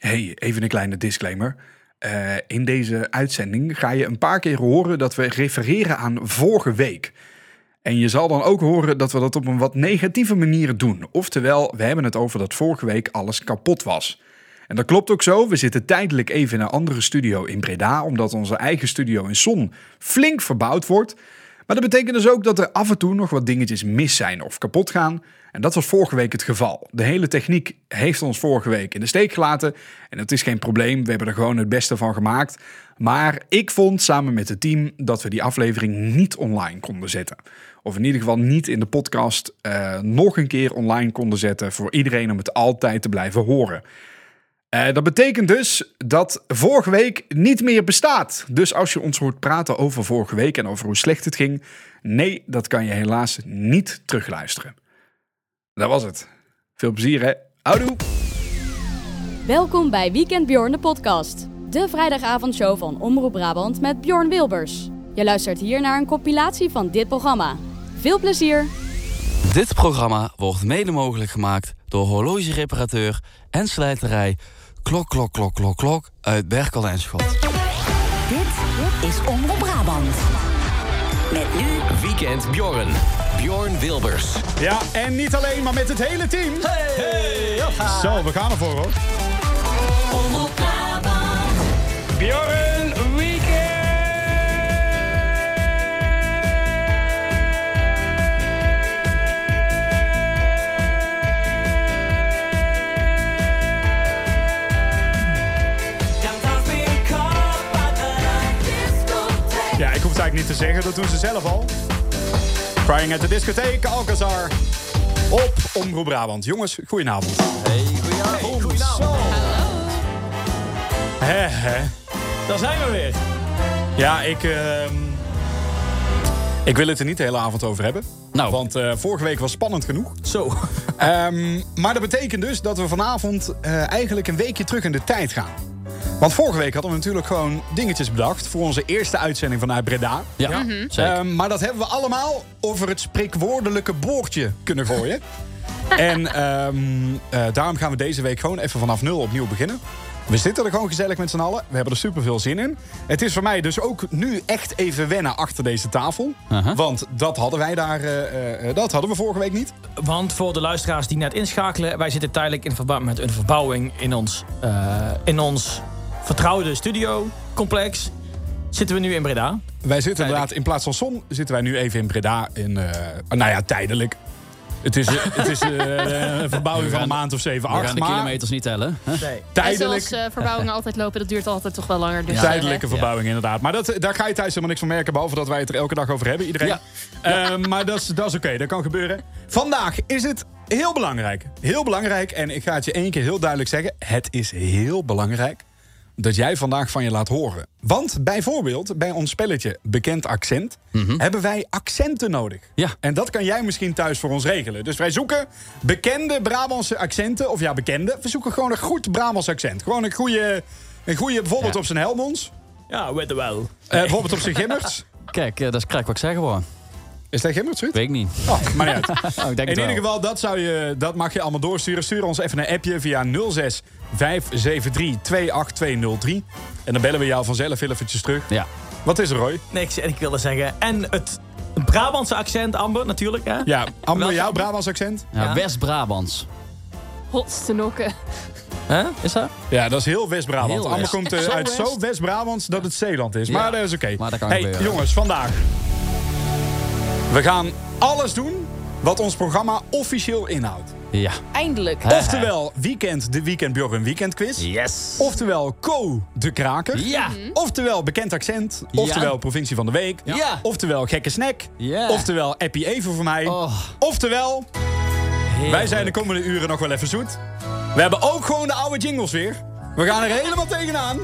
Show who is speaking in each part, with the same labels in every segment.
Speaker 1: Hey, even een kleine disclaimer. Eh, in deze uitzending ga je een paar keer horen dat we refereren aan vorige week. En je zal dan ook horen dat we dat op een wat negatieve manier doen. Oftewel, we hebben het over dat vorige week alles kapot was. En dat klopt ook zo. We zitten tijdelijk even in een andere studio in Breda, omdat onze eigen studio in Son flink verbouwd wordt. Maar dat betekent dus ook dat er af en toe nog wat dingetjes mis zijn of kapot gaan. En dat was vorige week het geval. De hele techniek heeft ons vorige week in de steek gelaten. En dat is geen probleem, we hebben er gewoon het beste van gemaakt. Maar ik vond samen met het team dat we die aflevering niet online konden zetten. Of in ieder geval niet in de podcast eh, nog een keer online konden zetten voor iedereen om het altijd te blijven horen. Eh, dat betekent dus dat vorige week niet meer bestaat. Dus als je ons hoort praten over vorige week en over hoe slecht het ging, nee, dat kan je helaas niet terugluisteren. Dat was het. Veel plezier, hè? Houdoe!
Speaker 2: Welkom bij Weekend Bjorn de podcast. De vrijdagavondshow van Omroep Brabant met Bjorn Wilbers. Je luistert hier naar een compilatie van dit programma. Veel plezier!
Speaker 3: Dit programma wordt mede mogelijk gemaakt door horlogereparateur en slijterij Klok Klok Klok Klok Klok uit Berkel en Schot.
Speaker 4: Dit is Omroep Brabant. Met nu
Speaker 5: Weekend Bjorn. Bjorn Wilbers.
Speaker 6: Ja, en niet alleen, maar met het hele team. Zo, we gaan ervoor hoor.
Speaker 4: Omroep Brabant.
Speaker 7: Bjorn Weekend!
Speaker 6: Ja, ik hoef het eigenlijk niet te zeggen, dat doen ze zelf al. Crying at the discotheek, Alcazar. Op Omroep Brabant. Jongens, goedenavond. Hè, hè.
Speaker 7: Daar zijn we weer.
Speaker 6: Ja, ik, ehm, ik wil het er niet de hele avond over hebben.
Speaker 3: Nou.
Speaker 6: Want eh, vorige week was spannend genoeg.
Speaker 7: Zo.
Speaker 6: Ehm, maar dat betekent dus dat we vanavond eh, eigenlijk een weekje terug in de tijd gaan. Want vorige week hadden we natuurlijk gewoon dingetjes bedacht voor onze eerste uitzending vanuit Breda.
Speaker 3: Ja, Mhm. zeker.
Speaker 6: Ehm, maar dat hebben we allemaal over het spreekwoordelijke boordje kunnen gooien. en ehm, eh, daarom gaan we deze week gewoon even vanaf nul opnieuw beginnen. We zitten er gewoon gezellig met z'n allen. We hebben er super veel zin in. Het is voor mij dus ook nu echt even wennen achter deze tafel.
Speaker 3: Aha.
Speaker 6: Want dat hadden wij daar. eh, eh, eh, dat hadden we vorige week niet.
Speaker 7: Want voor de luisteraars die net inschakelen, wij zitten tijdelijk in verband met een verbouwing in ons, eh, in ons vertrouwde studiocomplex. Zitten we nu in Breda?
Speaker 6: Wij zitten inderdaad, in plaats van zon zitten wij nu even in Breda. In, eh, nou ja, tijdelijk. Het is, eh, het is eh, een verbouwing van een maand of zeven,
Speaker 3: we
Speaker 6: acht.
Speaker 3: gaan de
Speaker 6: maar
Speaker 3: kilometers niet tellen. hè?
Speaker 7: Nee.
Speaker 6: tijdelijk.
Speaker 8: En zoals eh, verbouwingen altijd lopen, dat duurt altijd toch wel langer. Dus,
Speaker 6: Tijdelijke
Speaker 8: eh,
Speaker 6: verbouwing, inderdaad. Maar dat, daar ga je thuis helemaal niks van merken. Behalve dat wij het er elke dag over hebben, iedereen.
Speaker 3: Ja.
Speaker 6: Eh, maar dat is, dat is oké, dat kan gebeuren. Vandaag is het heel belangrijk. Heel belangrijk. En ik ga het je één keer heel duidelijk zeggen. Het is heel belangrijk dat jij vandaag van je laat horen. Want bijvoorbeeld bij ons spelletje Bekend Accent... hebben wij accenten nodig.
Speaker 3: Ja.
Speaker 6: En dat kan jij misschien thuis voor ons regelen. Dus wij zoeken bekende Brabantse accenten. Of ja, bekende. We zoeken gewoon een goed Brabants accent. Gewoon een goede... Een goede, bijvoorbeeld op zijn Helmonds.
Speaker 7: Ja, weet wel.
Speaker 6: Eh, bijvoorbeeld op zijn Gimmers.
Speaker 3: Kijk, eh, dat is krijg wat ik zeg gewoon.
Speaker 6: Is dat Gimmers? Ruud?
Speaker 3: Weet ik niet.
Speaker 6: Oh, maar niet uit.
Speaker 3: Oh, ik denk het
Speaker 6: In
Speaker 3: wel.
Speaker 6: ieder geval, dat, zou je, dat mag je allemaal doorsturen. Stuur ons even een appje via 06 573 28203. En dan bellen we jou vanzelf heel eventjes terug.
Speaker 3: Ja.
Speaker 6: Wat is er, Roy?
Speaker 7: Niks, en ik wilde zeggen. En het Brabantse accent, Amber, natuurlijk. Hè?
Speaker 6: Ja, Amber,
Speaker 7: Welke-
Speaker 6: jouw Brabants accent?
Speaker 3: Ja,
Speaker 7: Ja.
Speaker 3: West-Brabants.
Speaker 8: Hotste nokken.
Speaker 3: Hè? Is dat?
Speaker 6: Ja, dat is heel West-Brabant.
Speaker 3: Heel
Speaker 6: Amber
Speaker 3: West.
Speaker 6: komt eh,
Speaker 3: Zo
Speaker 6: uit
Speaker 3: West.
Speaker 6: zo West-Brabant dat het Zeeland is. Maar
Speaker 3: Ja.
Speaker 6: dat is oké.
Speaker 3: Maar dat kan eh,
Speaker 6: hey,
Speaker 3: gebeuren.
Speaker 6: jongens, vandaag. We gaan alles doen wat ons programma officieel inhoudt.
Speaker 3: Ja.
Speaker 8: Eindelijk.
Speaker 6: Oftewel, weekend, de weekend, Bjorn, weekend quiz.
Speaker 3: Yes.
Speaker 6: Oftewel Co de Kraker.
Speaker 3: Ja.
Speaker 6: Oftewel bekend accent. Oftewel provincie van de week.
Speaker 3: Ja.
Speaker 6: Oftewel gekke snack.
Speaker 3: Ja.
Speaker 6: Oftewel appie even voor mij.
Speaker 3: Oh,
Speaker 6: Oftewel, wij
Speaker 3: heerlijk.
Speaker 6: zijn de komende uren nog wel even zoet. We hebben ook gewoon de oude jingles weer. We gaan er helemaal tegenaan.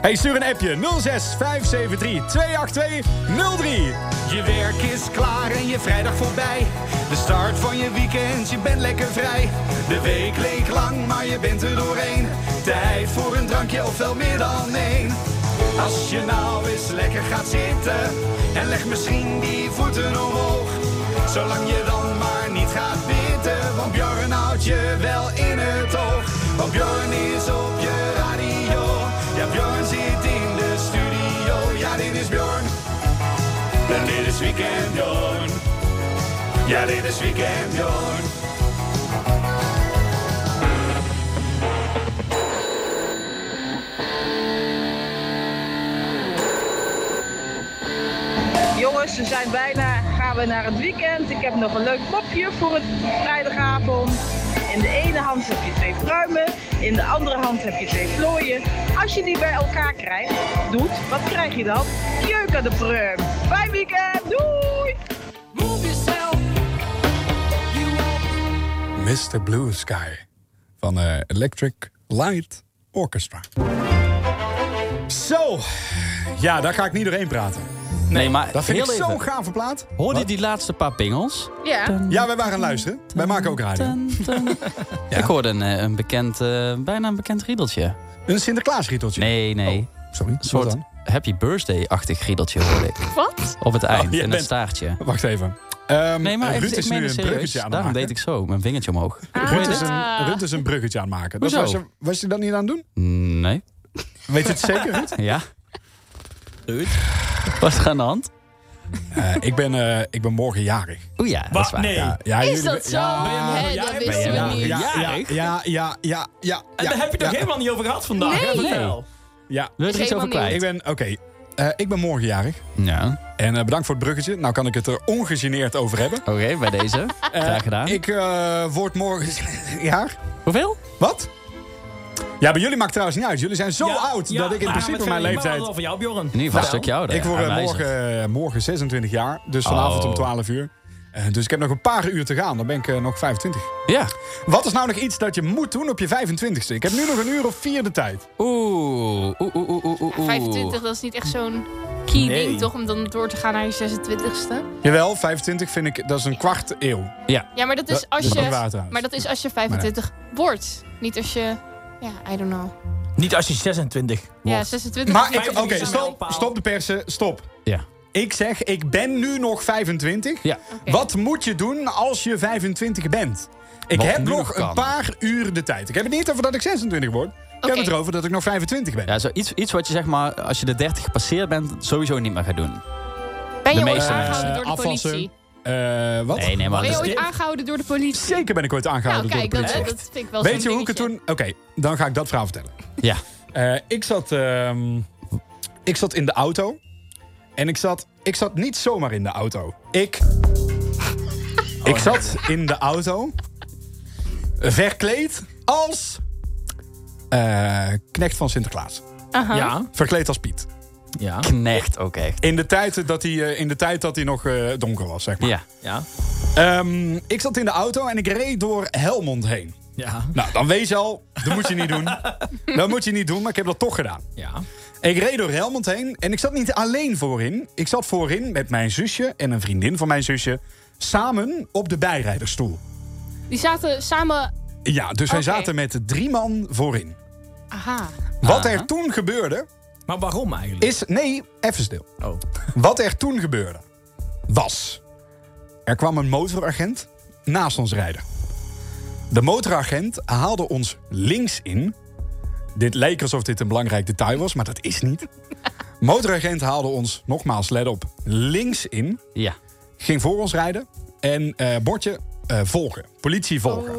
Speaker 6: Hey, stuur een appje 06 573 282 03.
Speaker 5: Je werk is klaar en je vrijdag voorbij. De start van je weekend, je bent lekker vrij. De week leek lang, maar je bent er doorheen. Tijd voor een drankje of wel meer dan één. Als je nou eens lekker gaat zitten en leg misschien die voeten omhoog. Zolang je dan maar niet gaat bitten, want Bjorn houdt je wel in het oog. Want Bjorn is op je
Speaker 9: is Weekend Jorn. Ja, dit is Weekend Jorn.
Speaker 10: Jongens, we zijn bijna. Gaan we naar het weekend. Ik heb nog een leuk mopje voor het vrijdagavond. In de ene hand heb je twee pruimen. In de andere hand heb je twee vlooien. Als je die bij elkaar krijgt, doet, wat krijg je dan? Jeuk aan de pruim. Fijn weekend. Doei!
Speaker 6: Mr. Blue Sky van eh, Electric Light Orchestra. Zo, ja, daar ga ik niet doorheen praten.
Speaker 11: Nee, maar
Speaker 6: Dat vind
Speaker 11: heel
Speaker 6: ik
Speaker 11: even.
Speaker 6: zo'n gave plaat.
Speaker 11: Hoorde je die laatste paar pingels?
Speaker 8: Ja.
Speaker 6: Ja, wij waren aan het luisteren. Wij maken ook radio.
Speaker 11: Ik hoorde een, eh, een bekend, eh, bijna een bekend riedeltje.
Speaker 6: Een Sinterklaasrieteltje.
Speaker 11: Nee, nee.
Speaker 3: Oh.
Speaker 6: Sorry,
Speaker 11: een
Speaker 6: wat
Speaker 11: soort
Speaker 6: dan?
Speaker 11: happy birthday-achtig riedeltje hoorde ik.
Speaker 8: Wat?
Speaker 11: Op het eind,
Speaker 6: jij
Speaker 11: in
Speaker 6: bent-
Speaker 11: het staartje.
Speaker 6: Wacht even. Ehm,
Speaker 11: Oh, Nee, maar
Speaker 6: Ruud
Speaker 11: even, ik
Speaker 6: is
Speaker 11: meen
Speaker 6: nu
Speaker 11: het
Speaker 6: een
Speaker 11: serieus.
Speaker 6: bruggetje aan het
Speaker 11: Daarom deed
Speaker 6: maken.
Speaker 11: ik zo, mijn vingertje omhoog.
Speaker 6: Ruud is,
Speaker 8: Ah.
Speaker 6: een, Ruud is een bruggetje aan het maken. Dat
Speaker 11: Hoezo?
Speaker 6: was, je, was je dat niet aan het doen?
Speaker 11: Mm, Nee.
Speaker 6: Weet je het zeker, Ruud?
Speaker 11: Ja. Wat is er aan de hand?
Speaker 6: Eh, ik, ben, eh, ik ben morgen jarig.
Speaker 11: O ja, dat is
Speaker 12: Wat?
Speaker 11: waar.
Speaker 12: Nee.
Speaker 6: Ja, ja,
Speaker 8: Is
Speaker 6: jullie-
Speaker 8: dat zo?
Speaker 6: Ja,
Speaker 8: Hé, dat wisten
Speaker 11: ben
Speaker 8: we
Speaker 6: ja,
Speaker 8: niet.
Speaker 6: ja, ja,
Speaker 11: Jarig?
Speaker 6: ja, ja, ja, ja,
Speaker 12: En
Speaker 6: ja,
Speaker 12: daar heb je het
Speaker 6: ja,
Speaker 12: ook helemaal niet over gehad vandaag.
Speaker 8: Nee.
Speaker 12: hè? Vertel.
Speaker 6: Ja,
Speaker 11: Wil je er iets over
Speaker 8: Helemaal
Speaker 6: ik
Speaker 11: kwijt?
Speaker 6: ben, oké. Eh, ik ben morgen jarig.
Speaker 11: Ja.
Speaker 6: En eh, bedankt voor het bruggetje. Nou kan ik het er ongegeneerd over hebben.
Speaker 11: Oké, bij deze. Graag gedaan.
Speaker 6: Ik eh, word morgen jaar.
Speaker 11: Hoeveel?
Speaker 6: Wat? Ja, bij jullie maakt het trouwens niet uit. Jullie zijn zo
Speaker 12: Ja,
Speaker 6: oud
Speaker 12: ja,
Speaker 6: dat ik in
Speaker 12: maar
Speaker 6: principe
Speaker 12: met
Speaker 6: mijn
Speaker 12: Ferry, maar
Speaker 6: leeftijd...
Speaker 12: wat over jou, Bjorn.
Speaker 11: In ieder geval een stukje ouder.
Speaker 6: Ik word eh,
Speaker 11: Aanwijzend.
Speaker 6: morgen, morgen 26 jaar, dus vanavond
Speaker 11: Oh.
Speaker 6: om 12 uur. Eh, dus ik heb nog een paar uur te gaan, dan ben ik eh, nog 25.
Speaker 11: Ja.
Speaker 6: Wat is nou nog iets dat je moet doen op je 25ste? Ik heb nu nog een uur of vier de tijd.
Speaker 11: Oeh. Oeh, oeh, oeh, oeh, oeh, oeh.
Speaker 8: 25, dat is niet echt zo'n key
Speaker 12: Nee.
Speaker 8: ding, toch? Om dan door te gaan naar je 26ste.
Speaker 6: Jawel, 25 vind ik, dat is een kwart eeuw.
Speaker 8: Ja, maar dat is
Speaker 6: Dat- dat
Speaker 8: als
Speaker 6: is
Speaker 8: je,
Speaker 6: waar trouwens.
Speaker 8: maar dat is als je 25 wordt. Niet als je... Ja, I don't know.
Speaker 12: Niet als je 26
Speaker 8: Ja,
Speaker 12: wordt.
Speaker 8: 26
Speaker 6: Maar ik, oké,
Speaker 12: 25 is een
Speaker 6: stop,
Speaker 12: mijlpaal.
Speaker 6: stop de persen, stop.
Speaker 11: Ja.
Speaker 6: Ik zeg, ik ben nu nog 25.
Speaker 11: Ja.
Speaker 8: Oké.
Speaker 6: Wat moet je doen als je 25 bent? Ik
Speaker 11: Wat
Speaker 6: heb
Speaker 11: nu
Speaker 6: nog
Speaker 11: nog kan.
Speaker 6: een paar uur de tijd. Ik heb het niet over dat ik 26 word. Ik heb
Speaker 8: Oké.
Speaker 6: het erover dat ik nog 25 ben.
Speaker 11: Ja, zo iets, iets wat je zeg maar, als je de 30 gepasseerd bent, sowieso niet meer gaat doen.
Speaker 8: Ben
Speaker 11: de
Speaker 8: je ooit
Speaker 11: meeste
Speaker 8: Eh, aangehouden
Speaker 6: mensen.
Speaker 8: door de
Speaker 6: Afwassen.
Speaker 8: politie?
Speaker 6: Eh, wat?
Speaker 11: eh, Nee, nee, maar
Speaker 8: Ben je
Speaker 11: dat is
Speaker 8: ooit aangehouden door de politie?
Speaker 6: Zeker ben ik ooit
Speaker 8: Nou,
Speaker 6: aangehouden
Speaker 8: kijk,
Speaker 6: door de
Speaker 8: dat,
Speaker 6: politie.
Speaker 8: dat vind ik wel
Speaker 6: Weet
Speaker 8: zo'n
Speaker 6: je hoe ik het
Speaker 8: dingetje.
Speaker 6: toen... Oké, dan ga ik dat verhaal vertellen.
Speaker 11: Ja.
Speaker 6: Eh, ik, zat, ehm, ik zat in de auto. En ik zat, ik zat niet zomaar in de auto. Ik, ik zat in de auto. Verkleed als... eh, knecht van Sinterklaas.
Speaker 12: Ja.
Speaker 6: Verkleed als Piet.
Speaker 12: Ja.
Speaker 11: knecht ook echt.
Speaker 6: In de tijd dat hij, eh, in de tijd dat hij nog eh, donker was, zeg maar.
Speaker 11: Ja.
Speaker 12: Ja.
Speaker 6: Ehm, ik zat in de auto en ik reed door Helmond heen.
Speaker 12: Ja.
Speaker 6: Nou, dan weet je al, dat moet je niet doen. Dat moet je niet doen, maar ik heb dat toch gedaan.
Speaker 12: Ja.
Speaker 6: Ik reed door Helmond heen en ik zat niet alleen voorin. Ik zat voorin met mijn zusje en een vriendin van mijn zusje... samen op de bijrijderstoel.
Speaker 8: Die zaten samen...
Speaker 6: Ja, dus wij
Speaker 8: Oké.
Speaker 6: zaten met drie man voorin.
Speaker 8: Aha.
Speaker 6: Wat er toen gebeurde
Speaker 12: Maar waarom eigenlijk?
Speaker 6: is... Nee, even stil.
Speaker 12: Oh.
Speaker 6: Wat er toen gebeurde was... Er kwam een motoragent naast ons rijden. De motoragent haalde ons links in. Dit leek alsof dit een belangrijk detail was, maar dat is niet. Motoragent haalde ons, nogmaals, let op, links in.
Speaker 11: Ja.
Speaker 6: Ging voor ons rijden en eh, bordje eh, volgen. Politie volgen.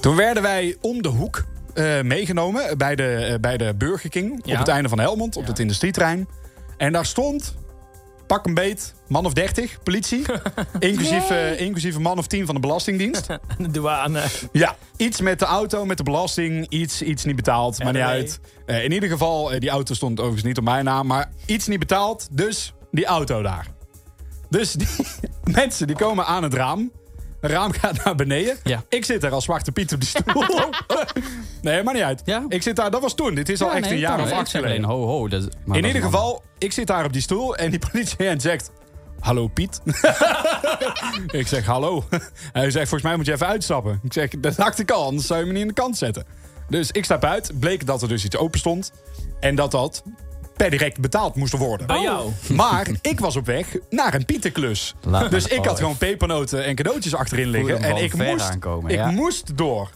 Speaker 6: Toen werden wij om de hoek eh, meegenomen bij de, eh, bij de Burger King.
Speaker 12: Ja.
Speaker 6: Op het einde van Helmond, op het industrieterrein. En daar stond, pak een beet, man of 30, politie. inclusief, eh, inclusief een man of 10 van de Belastingdienst.
Speaker 12: De douane.
Speaker 7: eh,
Speaker 6: Ja, iets met de auto, met de belasting, iets, iets niet betaald, maar niet
Speaker 12: RW.
Speaker 6: uit. Eh, in ieder geval, eh, die auto stond overigens niet op mijn naam, maar iets niet betaald, dus die auto daar. Dus die mensen die komen aan het raam. Het raam gaat naar beneden.
Speaker 11: Ja.
Speaker 6: Ik zit daar als Zwarte Piet op de stoel. nee, maar niet uit.
Speaker 11: Ja.
Speaker 6: Ik zit daar, dat was toen. Dit is al echt een jaar of acht geleden.
Speaker 11: Ho, ho, dat is- maar dat
Speaker 6: In
Speaker 11: is
Speaker 6: ieder
Speaker 11: een
Speaker 6: geval, ik zit daar op die stoel en die politieagent zegt... Hallo Piet. ik zeg hallo. Hij zegt, volgens mij moet je even uitstappen. Ik zeg, dat dacht ik al, anders zou je me niet in de kant zetten. Dus ik stap uit, bleek dat er dus iets open stond. En dat dat per direct betaald moest worden. Oh.
Speaker 12: Bij jou.
Speaker 6: Maar ik was op weg naar een pietenklus.
Speaker 11: Laat me
Speaker 6: dus ik had
Speaker 11: vallen.
Speaker 6: gewoon pepernoten en cadeautjes achterin
Speaker 11: Voel
Speaker 6: liggen.
Speaker 11: hem
Speaker 6: En
Speaker 11: wel
Speaker 6: ik
Speaker 11: ver
Speaker 6: moest,
Speaker 11: aankomen,
Speaker 6: ik
Speaker 11: ja.
Speaker 6: moest door.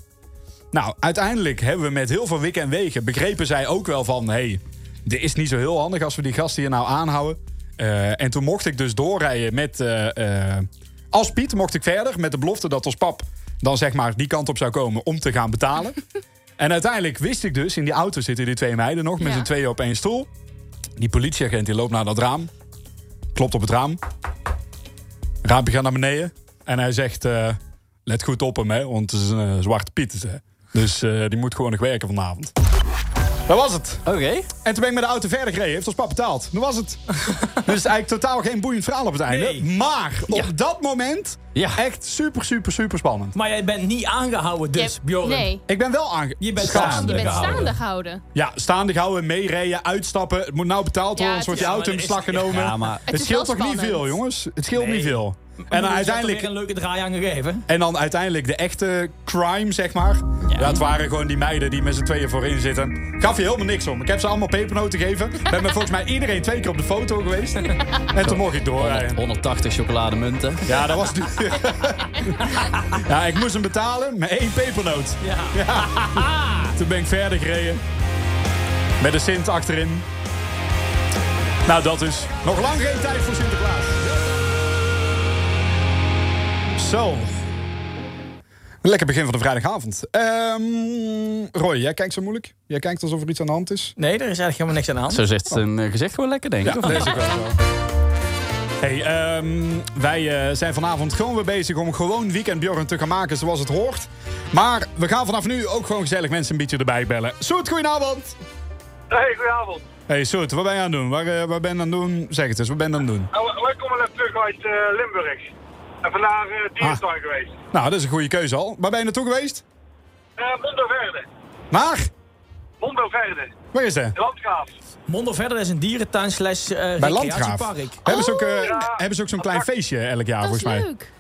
Speaker 6: Nou, uiteindelijk hebben we met heel veel wikken en wegen... begrepen zij ook wel van... hé, hey, dit is niet zo heel handig als we die gasten hier nou aanhouden. Eh, en toen mocht ik dus doorrijden met... eh, eh, als Piet mocht ik verder met de belofte dat als pap dan zeg maar die kant op zou komen om te gaan betalen. en uiteindelijk wist ik dus, in die auto zitten die twee meiden nog met
Speaker 8: Ja.
Speaker 6: z'n tweeën op één stoel. Die politieagent die loopt naar dat raam, klopt op het raam. Raampje gaat naar beneden en hij zegt, eh, let goed op hem hè, want het is een eh, zwarte Piet. hè. Dus eh, die moet gewoon nog werken vanavond. Dat was het.
Speaker 3: Oké.
Speaker 6: En toen ben ik met de auto verder gereden. Heeft ons pap betaald. Dat was het. dus het is eigenlijk totaal geen boeiend verhaal op het einde.
Speaker 7: Nee.
Speaker 6: Maar op dat moment
Speaker 3: Ja.
Speaker 6: echt super, super, super spannend.
Speaker 7: Maar jij bent niet aangehouden
Speaker 8: Je
Speaker 7: dus,
Speaker 8: hebt-
Speaker 7: Bjorn.
Speaker 8: Nee,
Speaker 6: Ik ben wel aange...
Speaker 7: Je bent
Speaker 6: Schaam.
Speaker 7: staande.
Speaker 8: je bent
Speaker 7: gehouden.
Speaker 8: staande gehouden.
Speaker 6: Ja, staande gehouden, meerijden, uitstappen. Het moet nou betaald worden,
Speaker 8: Ja,
Speaker 6: anders wordt je
Speaker 8: het
Speaker 6: auto in
Speaker 7: is-
Speaker 6: beslag
Speaker 7: ja, maar
Speaker 6: genomen.
Speaker 3: Ja, maar...
Speaker 6: Het,
Speaker 8: Het is
Speaker 6: scheelt
Speaker 8: wel
Speaker 6: toch niet
Speaker 8: spannend.
Speaker 6: veel, jongens? Het scheelt
Speaker 7: Nee.
Speaker 6: niet veel.
Speaker 7: En
Speaker 6: En dan uiteindelijk...
Speaker 7: uiteindelijk... een leuke draai aan gegeven.
Speaker 6: En dan uiteindelijk de echte crime, zeg maar. Dat waren gewoon die meiden die met z'n tweeën voorin zitten. Gaf je helemaal niks om. Ik heb ze allemaal pepernoten gegeven. Ben met volgens mij iedereen twee keer op de foto geweest. En toen mocht ik doorrijden.
Speaker 3: 180 chocolademunten.
Speaker 6: Ja, dat was duur. Ja, ik moest hem betalen met één pepernoot.
Speaker 7: Ja.
Speaker 6: Toen ben ik verder gereden. Met de Sint achterin. Nou, dat is nog lang geen tijd voor Sinterklaas. Zo. Een lekker begin van de vrijdagavond. Ehm, Roy, jij kijkt zo moeilijk. Jij kijkt alsof er iets aan de hand is.
Speaker 7: Nee, er is eigenlijk helemaal niks aan de hand.
Speaker 3: Zo zegt zijn eh, gezicht gewoon lekker, denk ik. of niet?
Speaker 6: is ook wel zo. Hey, ehm, wij eh, zijn vanavond gewoon weer bezig om gewoon Weekend Bjorn te gaan maken zoals het hoort. Maar we gaan vanaf nu ook gewoon gezellig mensen een beetje erbij bellen. Soet, goedenavond.
Speaker 13: Hey, goedenavond.
Speaker 6: Hey Soet, wat ben je aan het doen? Waar, eh, waar ben je aan het doen? Zeg het eens, wat ben je aan het doen?
Speaker 13: Nou, wij komen net terug uit eh, Limburg. En vandaag eh
Speaker 6: Ah.
Speaker 13: dierentuin geweest.
Speaker 6: Nou, dat is een goede keuze al. Waar ben je naartoe geweest?
Speaker 13: Eh Mondoverde.
Speaker 6: Naar?
Speaker 13: Mondoverde.
Speaker 6: Waar is dat?
Speaker 13: Landgraaf.
Speaker 7: Mondo verder is een dierentuin slash eh
Speaker 6: Bij Landgraaf.
Speaker 7: recreatiepark.
Speaker 6: Hebben ze ook, eh,
Speaker 13: Oh, ja.
Speaker 6: hebben ze ook zo'n klein feestje elk jaar,
Speaker 8: Dat is
Speaker 6: volgens mij?
Speaker 8: leuk.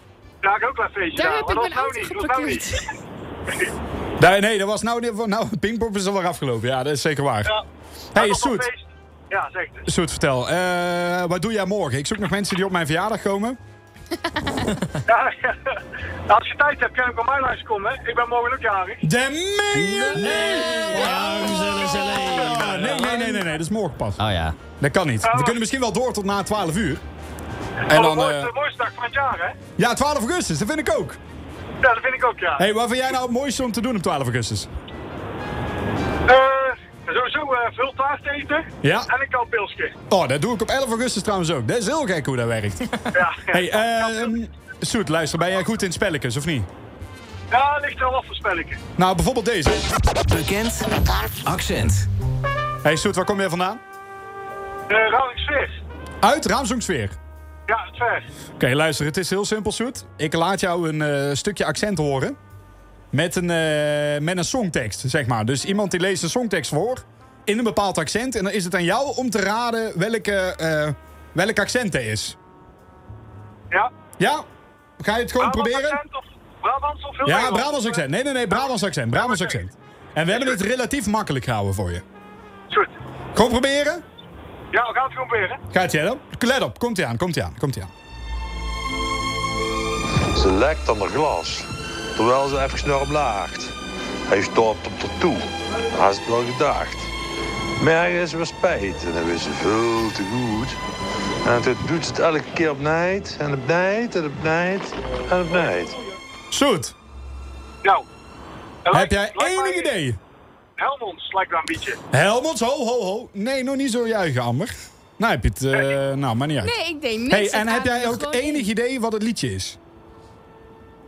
Speaker 13: Daar heb ik ook wel een feestje
Speaker 8: Daar
Speaker 13: gedaan,
Speaker 8: heb
Speaker 13: maar
Speaker 8: ik
Speaker 13: dat
Speaker 8: mijn
Speaker 13: nou
Speaker 8: auto
Speaker 13: niet. Dat nou
Speaker 8: geparkeerd.
Speaker 13: niet.
Speaker 6: Nee, nee, dat was nou, nou Pinkpop is alweer afgelopen. Ja, dat is zeker waar.
Speaker 13: Ja.
Speaker 6: hey
Speaker 13: Dat was een
Speaker 6: Soet.
Speaker 13: feest. Ja, zeg het.
Speaker 6: Soet, vertel. Eh, wat doe jij morgen? Ik zoek nog mensen die op mijn verjaardag komen.
Speaker 13: Ja, nou, als je tijd hebt, kan je ook bij mij langs komen. hè. Ik ben morgen ook jarig.
Speaker 6: De meen Nee, nee, nee, nee, nee, dat is morgen pas.
Speaker 3: Oh ja.
Speaker 6: Dat kan niet. We kunnen misschien wel door tot na 12 uur. En
Speaker 13: Oh, de
Speaker 6: dan,
Speaker 13: mooiste,
Speaker 6: eh,
Speaker 13: mooiste dag van het jaar, hè?
Speaker 6: ja, 12 augustus, dat vind ik ook.
Speaker 13: Ja, dat vind ik ook, ja.
Speaker 6: hey, wat vind jij nou het mooiste om te doen op 12 augustus?
Speaker 13: Eh, sowieso eh veel taart eten.
Speaker 6: Ja.
Speaker 13: En een koud pilsje.
Speaker 6: Oh, dat doe ik op 11 augustus trouwens ook. Dat is heel gek hoe dat werkt.
Speaker 13: Ja.
Speaker 6: hey, ehm Soet, luister, ben jij goed in spelletjes of niet?
Speaker 13: ja, ligt er wel af voor spelletje.
Speaker 6: Nou, bijvoorbeeld deze.
Speaker 4: Bekend.
Speaker 3: Accent.
Speaker 6: hey, Soet, waar kom jij vandaan?
Speaker 13: Eh Radingsfeer.
Speaker 6: Uit Raamsongsfeer.
Speaker 13: Ja, het ver.
Speaker 6: Oké, luister, het is heel simpel, Soet. Ik laat jou een eh, stukje accent horen. Met een, eh, met een songtekst, zeg maar. Dus iemand die leest een songtekst voor. In een bepaald accent. En dan is het aan jou om te raden welke, eh welk accent het is.
Speaker 13: Ja.
Speaker 6: Ja? Ga je het gewoon proberen?
Speaker 13: Brabants accent of Brabants of heel
Speaker 6: Ja,
Speaker 13: Nederlands?
Speaker 6: Brabants accent. Nee, nee, nee, Brabants accent. Brabants
Speaker 13: Oké.
Speaker 6: accent. En we hebben het relatief makkelijk gehouden voor je.
Speaker 13: Goed.
Speaker 6: Gewoon proberen.
Speaker 13: Ja, we gaan het gewoon proberen.
Speaker 6: Gaat jij dan? Let op, komt ie aan, komt ie aan, komt ie aan.
Speaker 14: Ze lekt aan haar glas, terwijl ze even naar hem laagt. Hij stapt op haar toe, hij had het wel gedacht. Maar er is weer spijt en dat wist ze veel te goed. En toen doet ze het elke keer opnieuw en opnieuw en opnieuw en opnieuw.
Speaker 6: Soet,
Speaker 13: Nou. En
Speaker 6: heb
Speaker 13: lijkt-
Speaker 6: jij
Speaker 13: lijkt
Speaker 6: enig
Speaker 13: mij-
Speaker 6: idee?
Speaker 13: Helmonds lijkt wel een beetje.
Speaker 6: Helmond, ho, ho, ho. Nee, nog niet zo juichen, Amber. Nou, heb je het, eh, nou, maar niet uit.
Speaker 8: Nee, ik deed niks.
Speaker 6: Hey,
Speaker 8: Ik
Speaker 6: en
Speaker 8: adem
Speaker 6: heb jij
Speaker 8: er
Speaker 6: ook
Speaker 8: gewoon
Speaker 6: enig
Speaker 8: in.
Speaker 6: idee wat het liedje is?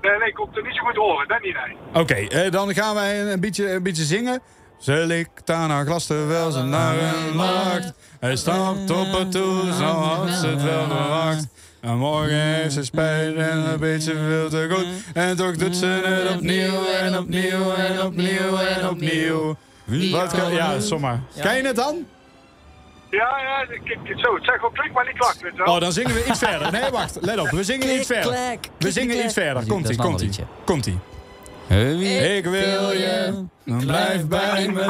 Speaker 13: Nee, nee, ik kon het er niet zo goed horen. Dat niet, nee.
Speaker 6: Oké, eh, dan gaan wij een beetje, een beetje zingen. Ze likt aan haar glas terwijl ze naar hem lacht. Hij stapt op haar toe, zo had ze het wel verwacht. En morgen heeft ze spijt en een beetje veel te goed. En toch doet ze het opnieuw en opnieuw en opnieuw en opnieuw. Wat kan, ja, zomaar. Kan je het dan?
Speaker 13: Ja, ja, ik, ik- zo. Het zegt wel klik, maar niet klak, weet je wel.
Speaker 6: Oh, dan zingen we iets verder. Nee, wacht. Let op, we zingen iets verder. We zingen iets verder.
Speaker 3: Dat
Speaker 6: Komt-ie,
Speaker 3: is een ander
Speaker 6: komt-ie.
Speaker 3: liedje.
Speaker 6: Komt-ie.
Speaker 3: Hey, wie-
Speaker 6: Ik wil je, dan blijf bij me.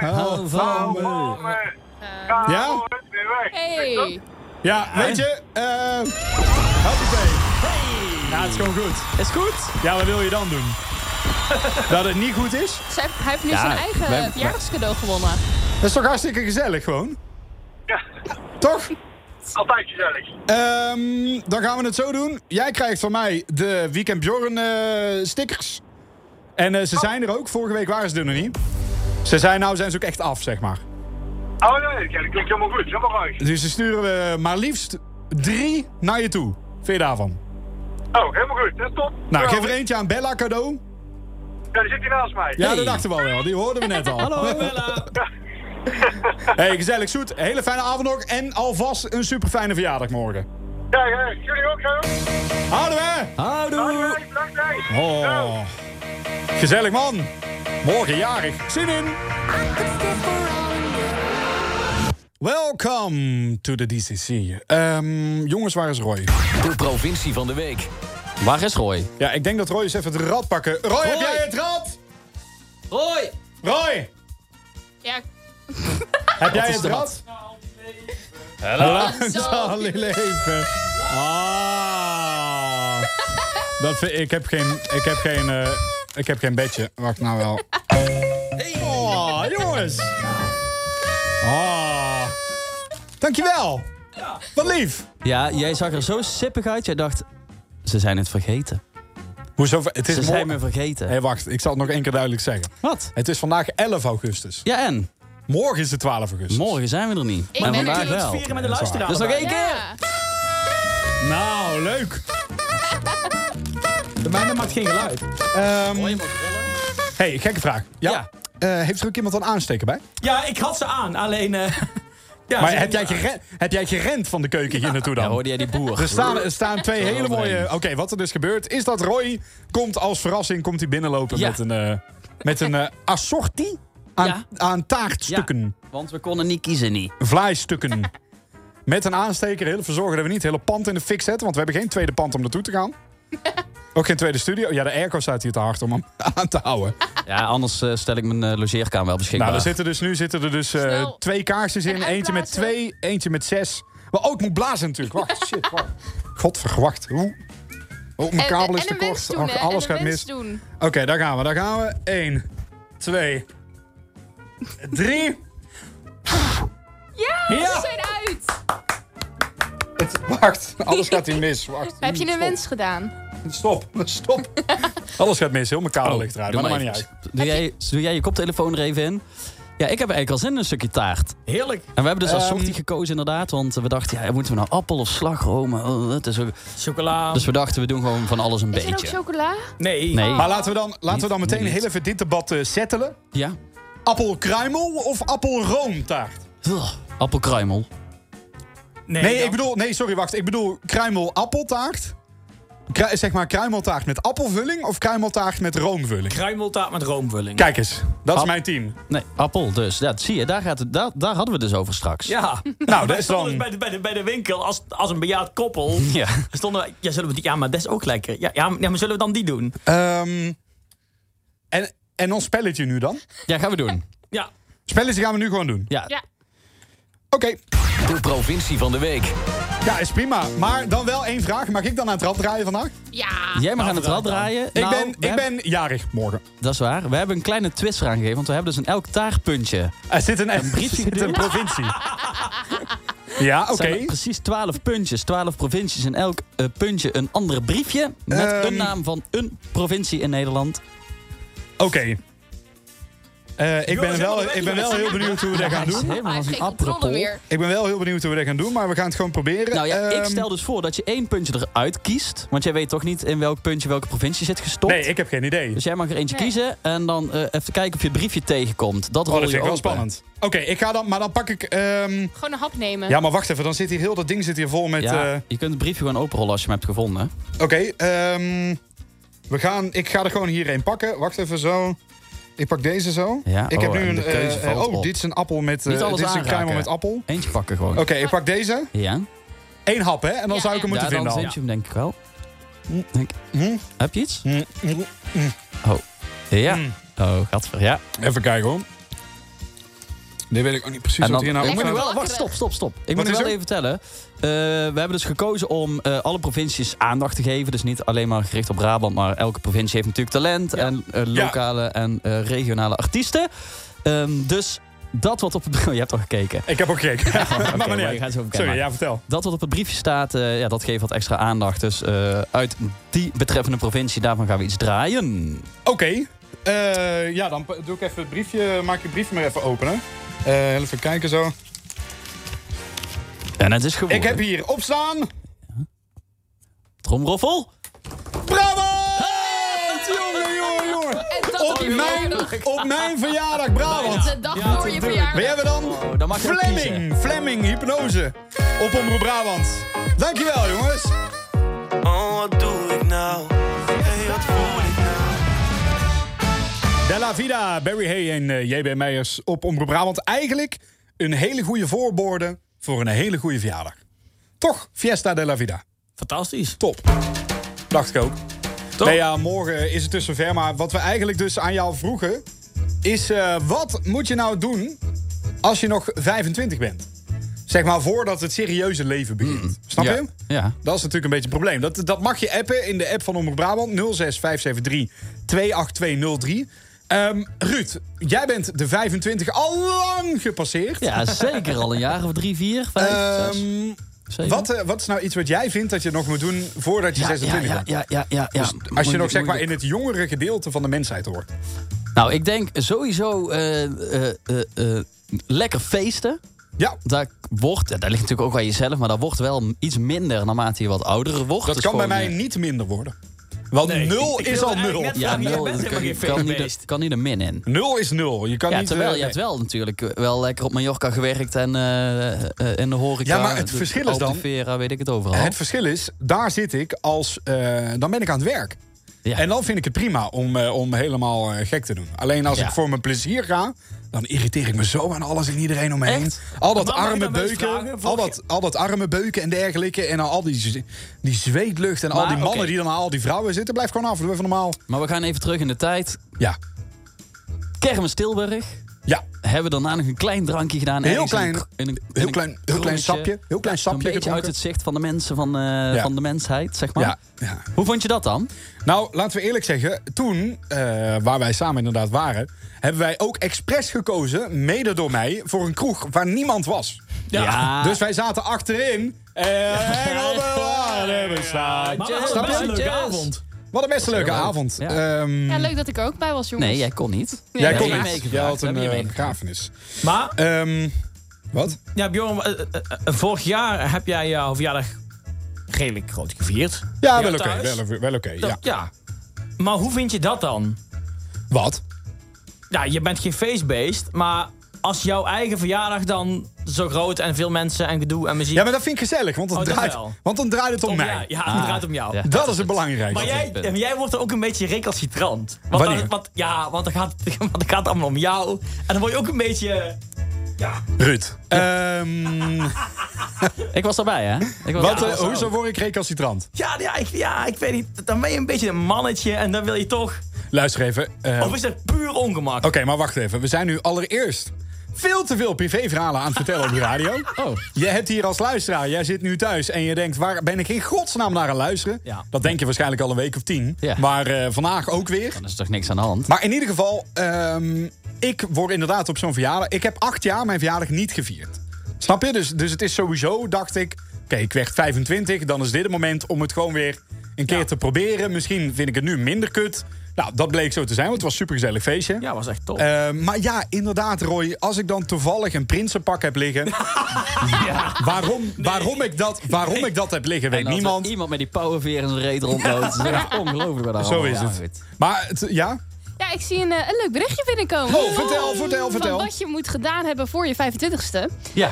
Speaker 6: Hou van me.
Speaker 13: Kom, eh,
Speaker 8: Eh,
Speaker 13: ga
Speaker 6: Ja?
Speaker 13: hoor, het weer weg.
Speaker 8: Hey.
Speaker 6: Ja, weet je, eh. hoppakee. Ja, het is gewoon goed.
Speaker 7: Is goed?
Speaker 6: Ja, wat wil je dan doen? Dat het niet goed is?
Speaker 8: Zij- Hij heeft nu
Speaker 3: Ja,
Speaker 8: zijn eigen
Speaker 3: wij-
Speaker 8: verjaardagscadeau gewonnen.
Speaker 6: Dat is toch hartstikke gezellig gewoon?
Speaker 13: Ja.
Speaker 6: Toch?
Speaker 13: Altijd gezellig.
Speaker 6: Ehm, dan gaan we het zo doen. Jij krijgt van mij de Weekend Bjorn eh, stickers. En eh, ze zijn er ook. Vorige week waren ze er nog niet. Ze zijn nou zijn ze ook echt af, zeg maar.
Speaker 13: Oh nee, dat klinkt helemaal goed. Helemaal ruis.
Speaker 6: Dus ze sturen we maar liefst drie naar je toe. Vind je daarvan?
Speaker 13: Oh, helemaal goed. Dat is top.
Speaker 6: Nou,
Speaker 13: Geweldig.
Speaker 6: geef er eentje aan Bella cadeau.
Speaker 13: Ja, die zit hier naast mij.
Speaker 6: Ja, dat dachten we al wel. Die hoorden we net al.
Speaker 7: Hallo Bella.
Speaker 6: Hey, gezellig zoet. Hele fijne avond nog. En alvast een super fijne verjaardag morgen.
Speaker 13: Ja, ja. Jullie ook, hè?
Speaker 6: Houden we!
Speaker 7: Houdoe.
Speaker 13: Blijf, blijf, blijf.
Speaker 6: Oh.
Speaker 13: Nou.
Speaker 6: Gezellig man. Morgen jarig. Zin in. Welcome to the DCC. Ehm, jongens, waar is Roy?
Speaker 11: De provincie van de week.
Speaker 3: Waar is Roy?
Speaker 6: Ja, ik denk dat Roy eens even het rad pakken. Roy, heb
Speaker 11: Roy!
Speaker 6: jij het rad?
Speaker 11: Roy!
Speaker 6: Roy,
Speaker 8: Ja,
Speaker 6: heb jij
Speaker 11: is
Speaker 6: het
Speaker 11: de
Speaker 6: rad?
Speaker 11: rad?
Speaker 6: Lang zal hij leven. Ah. Dat vind, ik heb geen... Ik heb geen... eh, ik heb geen bedje. Wacht nou wel. Oh, jongens. Ah. Dankjewel. Wat lief.
Speaker 11: Ja, jij zag er zo sippig uit. Jij dacht, ze zijn het vergeten.
Speaker 6: Hoezo? Het
Speaker 11: Ze
Speaker 6: is
Speaker 11: zijn
Speaker 6: morgen.
Speaker 11: me vergeten.
Speaker 6: Hé, wacht. Ik zal het nog één keer duidelijk zeggen.
Speaker 11: Wat?
Speaker 6: Het is vandaag 11 augustus.
Speaker 11: Ja, en?
Speaker 6: Morgen is het 12 augustus.
Speaker 11: Morgen zijn we er niet.
Speaker 8: Ik
Speaker 11: maar
Speaker 8: ben
Speaker 11: vandaag
Speaker 8: natuurlijk
Speaker 11: wel.
Speaker 7: Vieren met de luisteraar.
Speaker 11: Dus nog één keer.
Speaker 8: ja.
Speaker 6: Nou, leuk.
Speaker 7: De mijne maakt geen geluid.
Speaker 6: Ehm hey, gekke vraag. Ja.
Speaker 11: Ja. Ah,
Speaker 6: Eh, heeft er ook iemand een aansteker bij?
Speaker 7: Ja, ik had ze aan. Alleen... eh, ja,
Speaker 6: maar
Speaker 7: ze-
Speaker 6: heb jij, geren- heb jij gerend van de keuken hier naartoe
Speaker 11: Ja,
Speaker 6: dan?
Speaker 11: hoorde jij die boer?
Speaker 6: Er staan, er staan twee hele mooie... Oké, wat er dus gebeurt is dat Roy komt als verrassing komt hij binnenlopen
Speaker 11: Ja.
Speaker 6: met een, eh met een eh, assortie aan,
Speaker 11: Ja.
Speaker 6: aan taartstukken,
Speaker 11: Want we konden niet kiezen, niet.
Speaker 6: vlaaistukken. Met een aansteker, heel even zorgen dat we niet het hele pand in de fik zetten. Want we hebben geen tweede pand om naartoe te gaan. Ook geen tweede studio. Ja, de airco staat hier te hard om hem aan te houden.
Speaker 11: Ja, anders eh, stel ik mijn eh, logeerkamer wel beschikbaar.
Speaker 6: Nou, er zitten dus, nu zitten er dus eh,
Speaker 8: Snel.
Speaker 6: twee kaarsjes in.
Speaker 8: En
Speaker 6: Eentje met
Speaker 8: uitblazen.
Speaker 6: twee, eentje met zes. Maar ook moet blazen natuurlijk. Wacht, shit, wacht. Godverwacht. Oeh. Oh, mijn
Speaker 8: En,
Speaker 6: kabel is
Speaker 8: en
Speaker 6: te
Speaker 8: een wens
Speaker 6: kort.
Speaker 8: doen,
Speaker 6: Och,
Speaker 8: hè,
Speaker 6: alles
Speaker 8: en een
Speaker 6: gaat
Speaker 8: wens
Speaker 6: mis.
Speaker 8: doen.
Speaker 6: Oké, daar gaan we. Daar gaan we. Eén. Twee. Drie.
Speaker 8: Ja,
Speaker 6: Ja.
Speaker 8: ze zijn uit.
Speaker 6: Het, wacht, alles gaat hier mis. Wacht.
Speaker 8: Heb je een
Speaker 6: Stop.
Speaker 8: wens gedaan?
Speaker 6: Stop, stop. alles gaat mis. Heel mijn kabel ligt eruit.
Speaker 11: Doe
Speaker 6: Maar dat
Speaker 11: maar
Speaker 6: maakt niet uit.
Speaker 11: even. Doe jij, doe jij je koptelefoon er even in? Ja, ik heb eigenlijk al zin in een stukje taart.
Speaker 7: Heerlijk.
Speaker 11: En we hebben dus als
Speaker 6: Ehm.
Speaker 11: sortie gekozen inderdaad. Want we dachten, ja, moeten we nou appel of slagroom? Eh, het is ook...
Speaker 6: Oh.
Speaker 7: Chocola.
Speaker 11: Dus we dachten, we doen gewoon van alles een
Speaker 8: Is er ook
Speaker 11: beetje.
Speaker 8: chocola?
Speaker 7: Nee.
Speaker 11: Nee.
Speaker 6: Maar laten we dan, laten we dan
Speaker 11: Niet-
Speaker 6: meteen
Speaker 11: niet.
Speaker 6: heel even dit debat eh, settelen.
Speaker 11: Ja.
Speaker 6: Appelkruimel of appelroomtaart?
Speaker 11: Ugh, appelkruimel.
Speaker 6: Nee,
Speaker 7: dan-
Speaker 6: ik bedoel, nee, sorry, wacht. Ik bedoel kruimel-appeltaart. Kru- zeg maar kruimeltaart met appelvulling of kruimeltaart met roomvulling?
Speaker 7: Kruimeltaart met roomvulling.
Speaker 6: Kijk eens, dat is
Speaker 11: Ap-
Speaker 6: mijn team.
Speaker 11: Nee, appel dus. Dat zie je, daar, gaat het, daar, daar hadden we het dus over straks.
Speaker 7: Ja.
Speaker 6: Nou, dat
Speaker 7: Wij
Speaker 6: is
Speaker 7: stonden dus
Speaker 6: dan...
Speaker 7: bij de, bij, de, bij de winkel als, als een bejaard koppel.
Speaker 11: Ja.
Speaker 7: Stonden wij, ja, zullen we die, ja, maar dat is ook lekker. Ja, ja, maar- ja, maar zullen we dan die doen?
Speaker 6: Ehm, en, en ons spelletje nu dan?
Speaker 11: Ja, gaan we doen.
Speaker 7: Ja.
Speaker 6: Spelletje gaan we nu gewoon doen.
Speaker 11: Ja.
Speaker 8: Ja.
Speaker 6: Ah, Oké,
Speaker 11: De provincie van de week.
Speaker 6: ja, is prima. Maar dan wel één vraag. Mag ik dan aan het rad draaien vandaag?
Speaker 8: Ja.
Speaker 11: Jij mag aan het rad draaien.
Speaker 6: Ik,
Speaker 11: Nou,
Speaker 6: ben,
Speaker 11: we
Speaker 6: ik
Speaker 11: hebben-
Speaker 6: ben jarig morgen.
Speaker 11: Dat is waar. We hebben een kleine twist eraan gegeven. Want we hebben dus in elk taartpuntje
Speaker 6: Er zit een, er
Speaker 11: briefje
Speaker 6: zit een
Speaker 11: geduwd.
Speaker 6: provincie. ja, oké.
Speaker 11: zijn er precies 12 puntjes, 12 provincies. En elk eh, puntje een ander briefje. Met
Speaker 6: Ehm.
Speaker 11: een naam van een provincie in Nederland.
Speaker 6: Oké. Eh, ik ben
Speaker 7: Jongens,
Speaker 6: wel,
Speaker 7: helemaal
Speaker 6: ik ben wel
Speaker 7: weg.
Speaker 6: heel benieuwd hoe we dat gaan
Speaker 11: Hij is
Speaker 6: doen.
Speaker 11: helemaal
Speaker 8: Hij
Speaker 11: als
Speaker 8: heeft
Speaker 11: een
Speaker 8: geen controle
Speaker 11: apropos.
Speaker 8: meer.
Speaker 6: Ik ben wel heel benieuwd hoe we dat gaan doen, maar we gaan het gewoon proberen.
Speaker 11: Nou ja, ik
Speaker 6: Ehm,
Speaker 11: stel dus voor dat je één puntje eruit kiest. Want jij weet toch niet in welk puntje welke provincie zit gestopt.
Speaker 6: Nee, ik heb geen idee.
Speaker 11: Dus jij mag er eentje
Speaker 8: Nee.
Speaker 11: kiezen en dan eh, even kijken of je het briefje tegenkomt. Dat
Speaker 6: Oh,
Speaker 11: rol
Speaker 6: dat
Speaker 11: je
Speaker 6: vind ik wel
Speaker 11: open.
Speaker 6: spannend. Oké, ik ga dan, maar dan pak ik... ehm,
Speaker 8: Gewoon een hap nemen.
Speaker 6: ja, maar wacht even, dan zit hier heel dat ding zit hier vol met...
Speaker 11: Ja,
Speaker 6: eh,
Speaker 11: je kunt het briefje gewoon openrollen als je hem hebt gevonden.
Speaker 6: Oké, ehm, we gaan, ik ga er gewoon hierheen pakken. Wacht even zo. Ik pak deze zo.
Speaker 11: Ja,
Speaker 6: ik heb
Speaker 11: oh,
Speaker 6: nu
Speaker 11: en
Speaker 6: een...
Speaker 11: de keuze
Speaker 6: eh,
Speaker 11: valt
Speaker 6: oh,
Speaker 11: op.
Speaker 6: dit is een appel met... eh,
Speaker 11: Niet alles
Speaker 6: dit is een
Speaker 11: aanraken.
Speaker 6: kruimel met appel. Oké,
Speaker 11: Eentje pakken gewoon.
Speaker 6: ik pak deze.
Speaker 11: Ja,
Speaker 6: Eén hap, hè? En dan
Speaker 8: Ja,
Speaker 6: zou ik hem
Speaker 8: ja.
Speaker 11: ja
Speaker 6: moeten
Speaker 11: dan
Speaker 6: vinden al.
Speaker 11: zet je hem denk ik wel. Denk,
Speaker 6: Hm?
Speaker 11: heb je iets? Oh.
Speaker 6: Hm, hm.
Speaker 11: Ja.
Speaker 6: Mm.
Speaker 11: Oh, gadver, ja.
Speaker 6: Even kijken hoor. Nee, weet ik ook niet precies
Speaker 11: En
Speaker 6: wat
Speaker 11: dan-
Speaker 6: hier nou...
Speaker 11: ik
Speaker 8: Lekker
Speaker 11: moet nog
Speaker 8: wel
Speaker 11: wel, wacht,
Speaker 8: wakker.
Speaker 11: stop, stop, stop. Ik moet
Speaker 6: is
Speaker 11: nog wel
Speaker 6: er?
Speaker 11: even vertellen. Eh, we hebben dus gekozen om eh, alle provincies aandacht te geven. Dus niet alleen maar gericht op Brabant, maar elke provincie heeft natuurlijk talent. En eh, lokale en eh, regionale artiesten. Ehm, dus dat wat op het... Je hebt al gekeken.
Speaker 6: Ik heb ook gekeken.
Speaker 11: Ja, oké,
Speaker 6: maar
Speaker 11: maar
Speaker 6: meneer,
Speaker 11: je gaat zo bekend
Speaker 6: sorry,
Speaker 11: maken.
Speaker 6: ja, vertel.
Speaker 11: Dat wat op het briefje staat, eh, ja, dat geeft wat extra aandacht. Dus eh, uit die betreffende provincie, daarvan gaan we iets draaien.
Speaker 6: Oké. Eh, ja, dan pa- doe ik even het briefje, maak ik het briefje maar even openen. Eh, even kijken zo.
Speaker 11: En het is geworden.
Speaker 6: Ik heb hier opstaan.
Speaker 11: Tromroffel.
Speaker 6: Brabant! Jongen, jongen, jongen. Op mijn, op mijn verjaardag, Brabant.
Speaker 4: De dag voor je verjaardag.
Speaker 6: Wie hebben we dan?
Speaker 11: Oh, dan mag je ook
Speaker 6: Flemming.
Speaker 11: kiezen.
Speaker 6: Flemming, hypnose. Op Omroep Brabant. Dankjewel, jongens.
Speaker 15: Oh, wat doe ik nou? Hey, wat voel ik nou?
Speaker 6: Bella Vida, Barry Hay en eh, JB Meijers op Omroep Brabant. Eigenlijk een hele goede voorborden voor een hele goede verjaardag. Toch, Fiesta de la Vida.
Speaker 7: Fantastisch.
Speaker 6: Top. Dacht ik ook. Nee, ja, morgen is het dus zover. Maar wat we eigenlijk dus aan jou vroegen... is eh, wat moet je nou doen als je nog 25 bent? Zeg maar voordat het serieuze leven begint. Snap
Speaker 11: Ja.
Speaker 6: je?
Speaker 11: Ja.
Speaker 6: Dat is natuurlijk een beetje een probleem. Dat, dat mag je appen in de app van Omroep Brabant. 06573 28203. Ehm Ruud, jij bent de 25 al lang gepasseerd.
Speaker 11: Ja, zeker al een jaar of drie, vier, vijf,
Speaker 6: Ehm,
Speaker 11: zes. zeven.
Speaker 6: wat, eh, wat is nou iets wat jij vindt dat je nog moet doen voordat je
Speaker 11: Ja,
Speaker 6: 26
Speaker 11: ja,
Speaker 6: bent?
Speaker 11: ja, ja, ja, ja.
Speaker 6: Dus als je
Speaker 11: Moeilijk,
Speaker 6: nog zeg maar
Speaker 11: moeilijk.
Speaker 6: in het jongere gedeelte van de mensheid hoort.
Speaker 11: Nou, ik denk sowieso eh, eh, eh, eh, lekker feesten.
Speaker 6: Ja.
Speaker 11: Daar wordt, dat ligt natuurlijk ook aan jezelf, maar dat wordt wel iets minder naarmate je wat ouder wordt.
Speaker 6: Dat
Speaker 11: Dus
Speaker 6: kan bij
Speaker 11: gewoon,
Speaker 6: mij
Speaker 11: eh,
Speaker 6: niet minder worden. Want
Speaker 11: Nee,
Speaker 6: nul
Speaker 11: ik- ik
Speaker 6: is
Speaker 11: wilde
Speaker 6: al nul.
Speaker 11: eigenlijk net vragen, jij bent helemaal geen feestbeest. kan niet een min in.
Speaker 6: Nul is nul. Je kan
Speaker 11: ja,
Speaker 6: niet,
Speaker 11: terwijl
Speaker 6: eh,
Speaker 11: je hebt
Speaker 6: nee.
Speaker 11: wel natuurlijk wel lekker op Mallorca gewerkt en eh, eh, in de horeca.
Speaker 6: Ja, maar het
Speaker 11: de
Speaker 6: verschil is dan-
Speaker 11: Albufeira, weet ik het overal.
Speaker 6: Het verschil is, daar zit ik als... eh, dan ben ik aan het werk. En dan vind ik het prima om, eh, om helemaal eh, gek te doen. Alleen als
Speaker 11: Ja.
Speaker 6: ik voor mijn plezier ga... dan irriteer ik me zo aan alles en iedereen om me heen.
Speaker 11: Echt?
Speaker 6: Al dat
Speaker 11: Maar mag ik
Speaker 6: arme
Speaker 11: dan nou eens vragen?
Speaker 6: beuken... Al
Speaker 11: Vorig
Speaker 6: dat, al dat arme beuken en dergelijke... en dan al die, z- die zweetlucht en al
Speaker 11: Maar,
Speaker 6: die mannen
Speaker 11: oké.
Speaker 6: die dan aan al die vrouwen zitten... blijf gewoon af, doe even normaal.
Speaker 11: Maar we gaan even terug in de tijd.
Speaker 6: Ja.
Speaker 11: Kermis Tilburg.
Speaker 6: Ja.
Speaker 11: Hebben we daarna nog een klein drankje gedaan.
Speaker 6: Heel
Speaker 11: ergens in
Speaker 6: klein-
Speaker 11: een- in een- in
Speaker 6: heel
Speaker 11: een
Speaker 6: klein- heel klein
Speaker 11: krulletje.
Speaker 6: sapje, heel klein
Speaker 11: Ja,
Speaker 6: sapje
Speaker 11: Een beetje uit
Speaker 6: gedronken.
Speaker 11: het zicht van de mensen van, eh,
Speaker 6: Ja.
Speaker 11: van de mensheid, zeg maar.
Speaker 6: Ja,
Speaker 11: Hoe vond je dat dan?
Speaker 6: Nou, laten we eerlijk zeggen, toen, eh, waar wij samen inderdaad waren, hebben wij ook expres gekozen, mede door mij, voor een kroeg waar niemand was.
Speaker 11: Ja. Ja.
Speaker 6: Dus wij zaten achterin. Eh, en op de Waardenbestaat.
Speaker 7: Maar we hadden
Speaker 6: Snap
Speaker 7: best
Speaker 6: je?
Speaker 7: een leuke avond.
Speaker 6: Wat een best een leuke
Speaker 11: heel leuk.
Speaker 6: avond.
Speaker 11: Ja.
Speaker 6: Ehm,
Speaker 8: Ja, leuk dat ik er ook bij was, jongens.
Speaker 11: Nee, jij kon niet.
Speaker 8: Nee.
Speaker 6: Jij
Speaker 8: Ja,
Speaker 6: kon
Speaker 8: heb je
Speaker 6: niet. Jij
Speaker 11: meegevraagd,
Speaker 6: had een
Speaker 11: heb je
Speaker 6: eh,
Speaker 11: meegevraagd.
Speaker 6: begrafenis.
Speaker 7: Maar
Speaker 6: Ehm, wat?
Speaker 7: Ja, Bjorn, eh, eh, eh, vorig jaar heb jij eh, jouw verjaardag redelijk groot gevierd.
Speaker 6: Ja,
Speaker 7: Bij
Speaker 6: wel
Speaker 7: jou
Speaker 6: oké.
Speaker 7: thuis.
Speaker 6: wel wel oké.
Speaker 7: Dat-
Speaker 6: ja.
Speaker 7: ja. Maar hoe vind je dat dan?
Speaker 6: Wat?
Speaker 7: Ja, je bent geen feestbeest, maar als jouw eigen verjaardag dan zo groot en veel mensen en gedoe en muziek...
Speaker 6: ja, maar dat vind ik gezellig, want dan,
Speaker 7: Oh, dat
Speaker 6: draait,
Speaker 7: wel.
Speaker 6: want dan draait het om,
Speaker 7: Om
Speaker 6: mij.
Speaker 7: jou. Ja, het Ah, draait om jou. ja,
Speaker 6: dat is het belangrijkste.
Speaker 7: Maar jij, en jij wordt er ook een beetje recalcitrant. Want
Speaker 6: Wanneer?
Speaker 7: dan- want, ja, want dan, gaat, want dan gaat het allemaal om jou. En dan word je ook een beetje...
Speaker 6: Ruud. Ehm,
Speaker 11: Ik was daarbij, hè? Ik was
Speaker 6: wat,
Speaker 11: ja,
Speaker 6: eh,
Speaker 11: was ook.
Speaker 6: hoezo word ik recalcitrant?
Speaker 7: Ja, ja, ik, ja, ik weet niet. Dan ben je een beetje een mannetje en dan wil je toch...
Speaker 6: Luister even. eh,
Speaker 7: Of is dat puur ongemak?
Speaker 6: Oké, maar wacht even. We zijn nu allereerst veel te veel privéverhalen aan het vertellen op de radio.
Speaker 11: Oh.
Speaker 6: Je hebt hier als luisteraar, jij zit nu thuis en je denkt... waar ben ik in godsnaam naar aan luisteren?
Speaker 11: Ja.
Speaker 6: Dat denk je waarschijnlijk al een week of tien.
Speaker 11: Ja.
Speaker 6: Maar eh, vandaag ook weer.
Speaker 11: Dan is er toch niks aan de hand?
Speaker 6: Maar in ieder geval, ehm, ik word inderdaad op zo'n verjaardag... Ik heb acht jaar mijn verjaardag niet gevierd. Snap je? Dus, dus het is sowieso, dacht ik... Oké, ik werd 25, dan is dit het moment om het gewoon weer een keer te proberen. Misschien vind ik het nu minder kut. Nou, dat bleek zo te zijn, want het was een supergezellig feestje.
Speaker 7: Ja, was echt tof.
Speaker 6: Eh, maar ja, inderdaad, Roy. Als ik dan toevallig een prinsenpak heb liggen. waarom, waarom, ik dat, waarom ik dat heb liggen, weet
Speaker 11: En als er
Speaker 6: niemand.
Speaker 11: Iemand met die powerveer in zijn reet rondloopt. Dat is echt ongelooflijk wat daar
Speaker 6: Zo
Speaker 11: allemaal
Speaker 6: is
Speaker 11: gebeurt.
Speaker 6: het. Maar het- ja?
Speaker 8: Ja, ik zie een, eh, een leuk berichtje binnenkomen.
Speaker 6: Oh, vertel, vertel, vertel.
Speaker 8: Van wat je moet gedaan hebben voor je 25ste.
Speaker 11: Ja.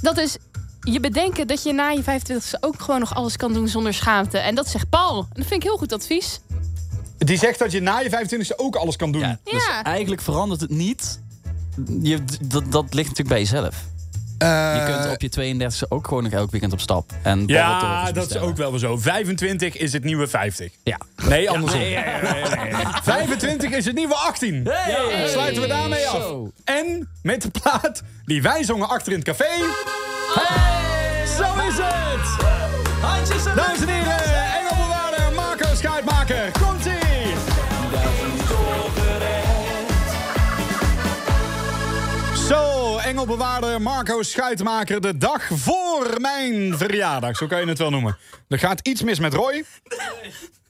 Speaker 8: Dat is je bedenken dat je na je 25ste ook gewoon nog alles kan doen zonder schaamte. En dat zegt Paul. En dat vind ik heel goed advies.
Speaker 6: Die zegt dat je na je 25e ook alles kan doen.
Speaker 11: Dus
Speaker 8: Ja.
Speaker 11: eigenlijk verandert het niet. Je, dat, dat ligt natuurlijk bij jezelf.
Speaker 6: Eh,
Speaker 11: je kunt op je 32e ook gewoon nog elk weekend op stap. En
Speaker 6: ja,
Speaker 11: borreltorentjes
Speaker 6: dat is
Speaker 11: bestellen.
Speaker 6: ook wel weer zo. 25 is het nieuwe 50.
Speaker 11: Ja.
Speaker 6: Nee, andersom.
Speaker 7: Nee, nee, nee, nee, nee.
Speaker 6: 25 is het nieuwe 18.
Speaker 7: Hey.
Speaker 6: Sluiten we daarmee af.
Speaker 11: Zo.
Speaker 6: En met de plaat die wij zongen achter in het café. Zo is het!
Speaker 7: Handjes en
Speaker 6: Dames en heren, Engel Bewaarder, Marco Schuitmaker, komt-ie! Zo, engelbewaarder Marco Schuitmaker de dag voor mijn verjaardag. Zo kan je het wel noemen. Er gaat iets mis met Roy.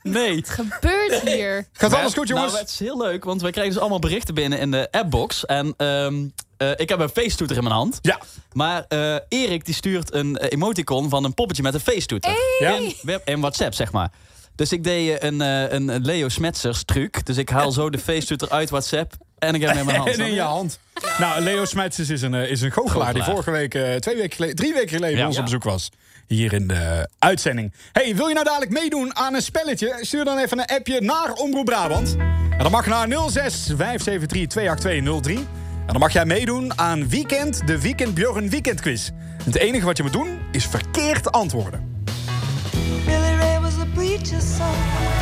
Speaker 11: Nee.
Speaker 8: Het gebeurt hier.
Speaker 6: Gaat alles goed, jongens?
Speaker 11: Nou, het is heel leuk, want wij krijgen dus allemaal berichten binnen in de appbox. En ehm, eh, ik heb een feesttoeter in mijn hand.
Speaker 6: Ja.
Speaker 11: Maar eh, Erik die stuurt een eh, emoticon van een poppetje met een feesttoeter.
Speaker 8: Hey.
Speaker 11: In, web- in WhatsApp, zeg maar. Dus ik deed eh, een, eh, een een Leo Smetsers truc. Dus ik haal zo de feesttoeter uit WhatsApp en ik heb hem in mijn hand.
Speaker 6: En in je hand. Nou, Leo Smetsers is een, eh, is een goochelaar, die
Speaker 11: Goochelaar.
Speaker 6: vorige week, eh, twee weken geleden, drie weken geleden bij
Speaker 11: Ja.
Speaker 6: ons op
Speaker 11: Ja.
Speaker 6: bezoek was. Hier in de uitzending. hey, wil je nou dadelijk meedoen aan een spelletje? Stuur dan even een appje naar Omroep Brabant. En dan mag je naar 06 573 28203. En dan mag jij meedoen aan Weekend, de Weekend Björn Weekend Quiz. Het enige wat je moet doen is verkeerd antwoorden.
Speaker 4: Billy Ray was a preacher's son.
Speaker 16: Oh,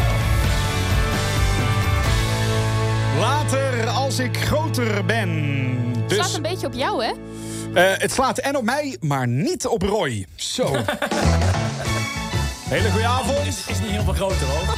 Speaker 6: Later, als ik groter ben. Dus...
Speaker 8: Het slaat een beetje op jou, hè?
Speaker 6: Eh, het slaat en op mij, maar niet op Roy. Zo. Hele goede avond.
Speaker 7: Is, is niet heel veel groter hoor.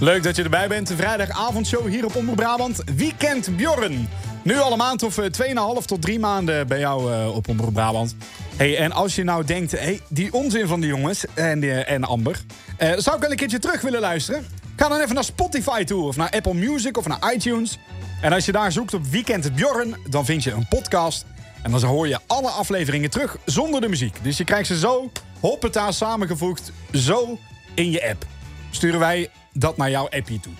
Speaker 6: Leuk dat je erbij bent. De vrijdagavondshow hier op Omroep Brabant. Weekend Bjorn. Nu al een maand of eh, 2,5 tot 3 maanden bij jou eh, op Omroep Brabant. Hey, en als je nou denkt, hey, die onzin van die jongens en, eh, en Amber... eh, zou ik wel een keertje terug willen luisteren? Ga dan even naar Spotify toe of naar Apple Music of naar iTunes. En als je daar zoekt op Weekend Bjorn, dan vind je een podcast... En dan hoor je alle afleveringen terug zonder de muziek. Dus je krijgt ze zo, hoppeta, samengevoegd, zo in je app sturen wij dat naar jouw appie toe.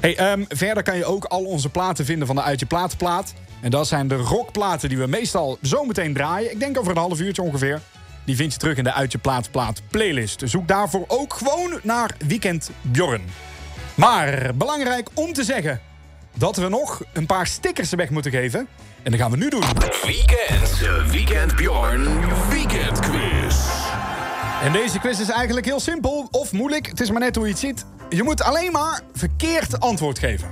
Speaker 6: Hey, ehm, verder kan je ook al onze platen vinden van de Uit Je Plaat plaat. En dat zijn de rockplaten die we meestal zometeen draaien. Ik denk over een half uurtje ongeveer. Die vind je terug in de Uit Je Plaat plaat playlist. Zoek daarvoor ook gewoon naar Weekend Bjorn. Maar belangrijk om te zeggen dat we nog een paar stickers weg moeten geven. En dat gaan we nu doen.
Speaker 17: Weekend, de Weekend Bjorn Weekend Quiz.
Speaker 6: En deze quiz is eigenlijk heel simpel of moeilijk. Het is maar net hoe je het ziet. Je moet alleen maar verkeerd antwoord geven.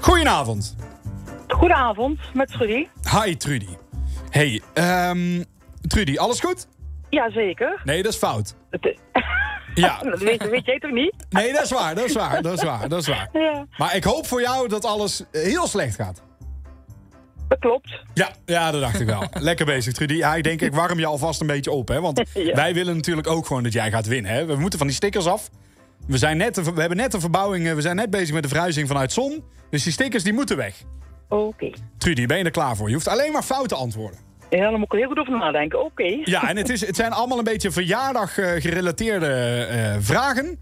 Speaker 6: Goedenavond.
Speaker 18: Goedenavond, met Trudy.
Speaker 6: Hi Trudy. Hey, ehm, Trudy, alles goed?
Speaker 18: Jazeker.
Speaker 6: Nee, dat is fout. Ja,
Speaker 18: Dat weet, weet jij toch niet?
Speaker 6: nee, dat is waar, dat is waar, dat is waar, dat is waar.
Speaker 18: Ja,
Speaker 6: Maar ik hoop voor jou dat alles heel slecht gaat.
Speaker 18: dat klopt.
Speaker 6: Ja, ja, dat dacht ik wel. Lekker bezig, Trudy. Ja, ik denk, ik warm je alvast een beetje op, hè. Want
Speaker 18: Ja.
Speaker 6: wij willen natuurlijk ook gewoon dat jij gaat winnen, hè. We moeten van die stickers af. We, zijn net, we hebben net een verbouwing, eh, we zijn net bezig met de verhuizing vanuit Zon. Dus die stickers, die moeten weg. Eh.
Speaker 18: Oké.
Speaker 6: Trudy, ben je er klaar voor? Je hoeft alleen maar fouten antwoorden.
Speaker 18: Ja, dan moet ik er heel goed over nadenken. Oké.
Speaker 6: Ja, en het, is, het zijn allemaal een beetje verjaardag eh, gerelateerde eh, vragen.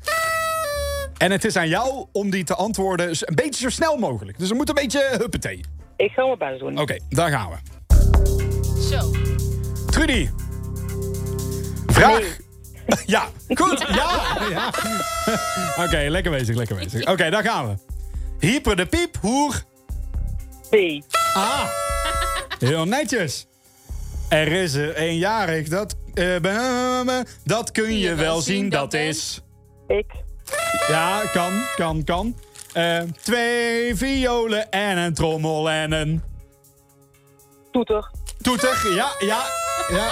Speaker 6: En het is aan jou om die te antwoorden z- een beetje zo snel mogelijk. Dus we moeten een beetje eh, huppatee.
Speaker 18: Ik ga mijn best doen.
Speaker 6: Oké, daar gaan we.
Speaker 8: Zo.
Speaker 6: Trudy. Vraag. Ja, goed. Ja. ja. Oké, lekker bezig, lekker bezig. Oké, daar gaan we. Hyper de piep, hoer.
Speaker 18: B.
Speaker 6: Ah. Heel netjes. Er is er eenjarig, dat, eh, eh, dat kun je wel zien, dat is.
Speaker 18: Ik.
Speaker 6: Ja, kan, kan, kan. Eh, twee violen en een trommel en een
Speaker 18: Toeter.
Speaker 6: toeter. Ja, ja, ja.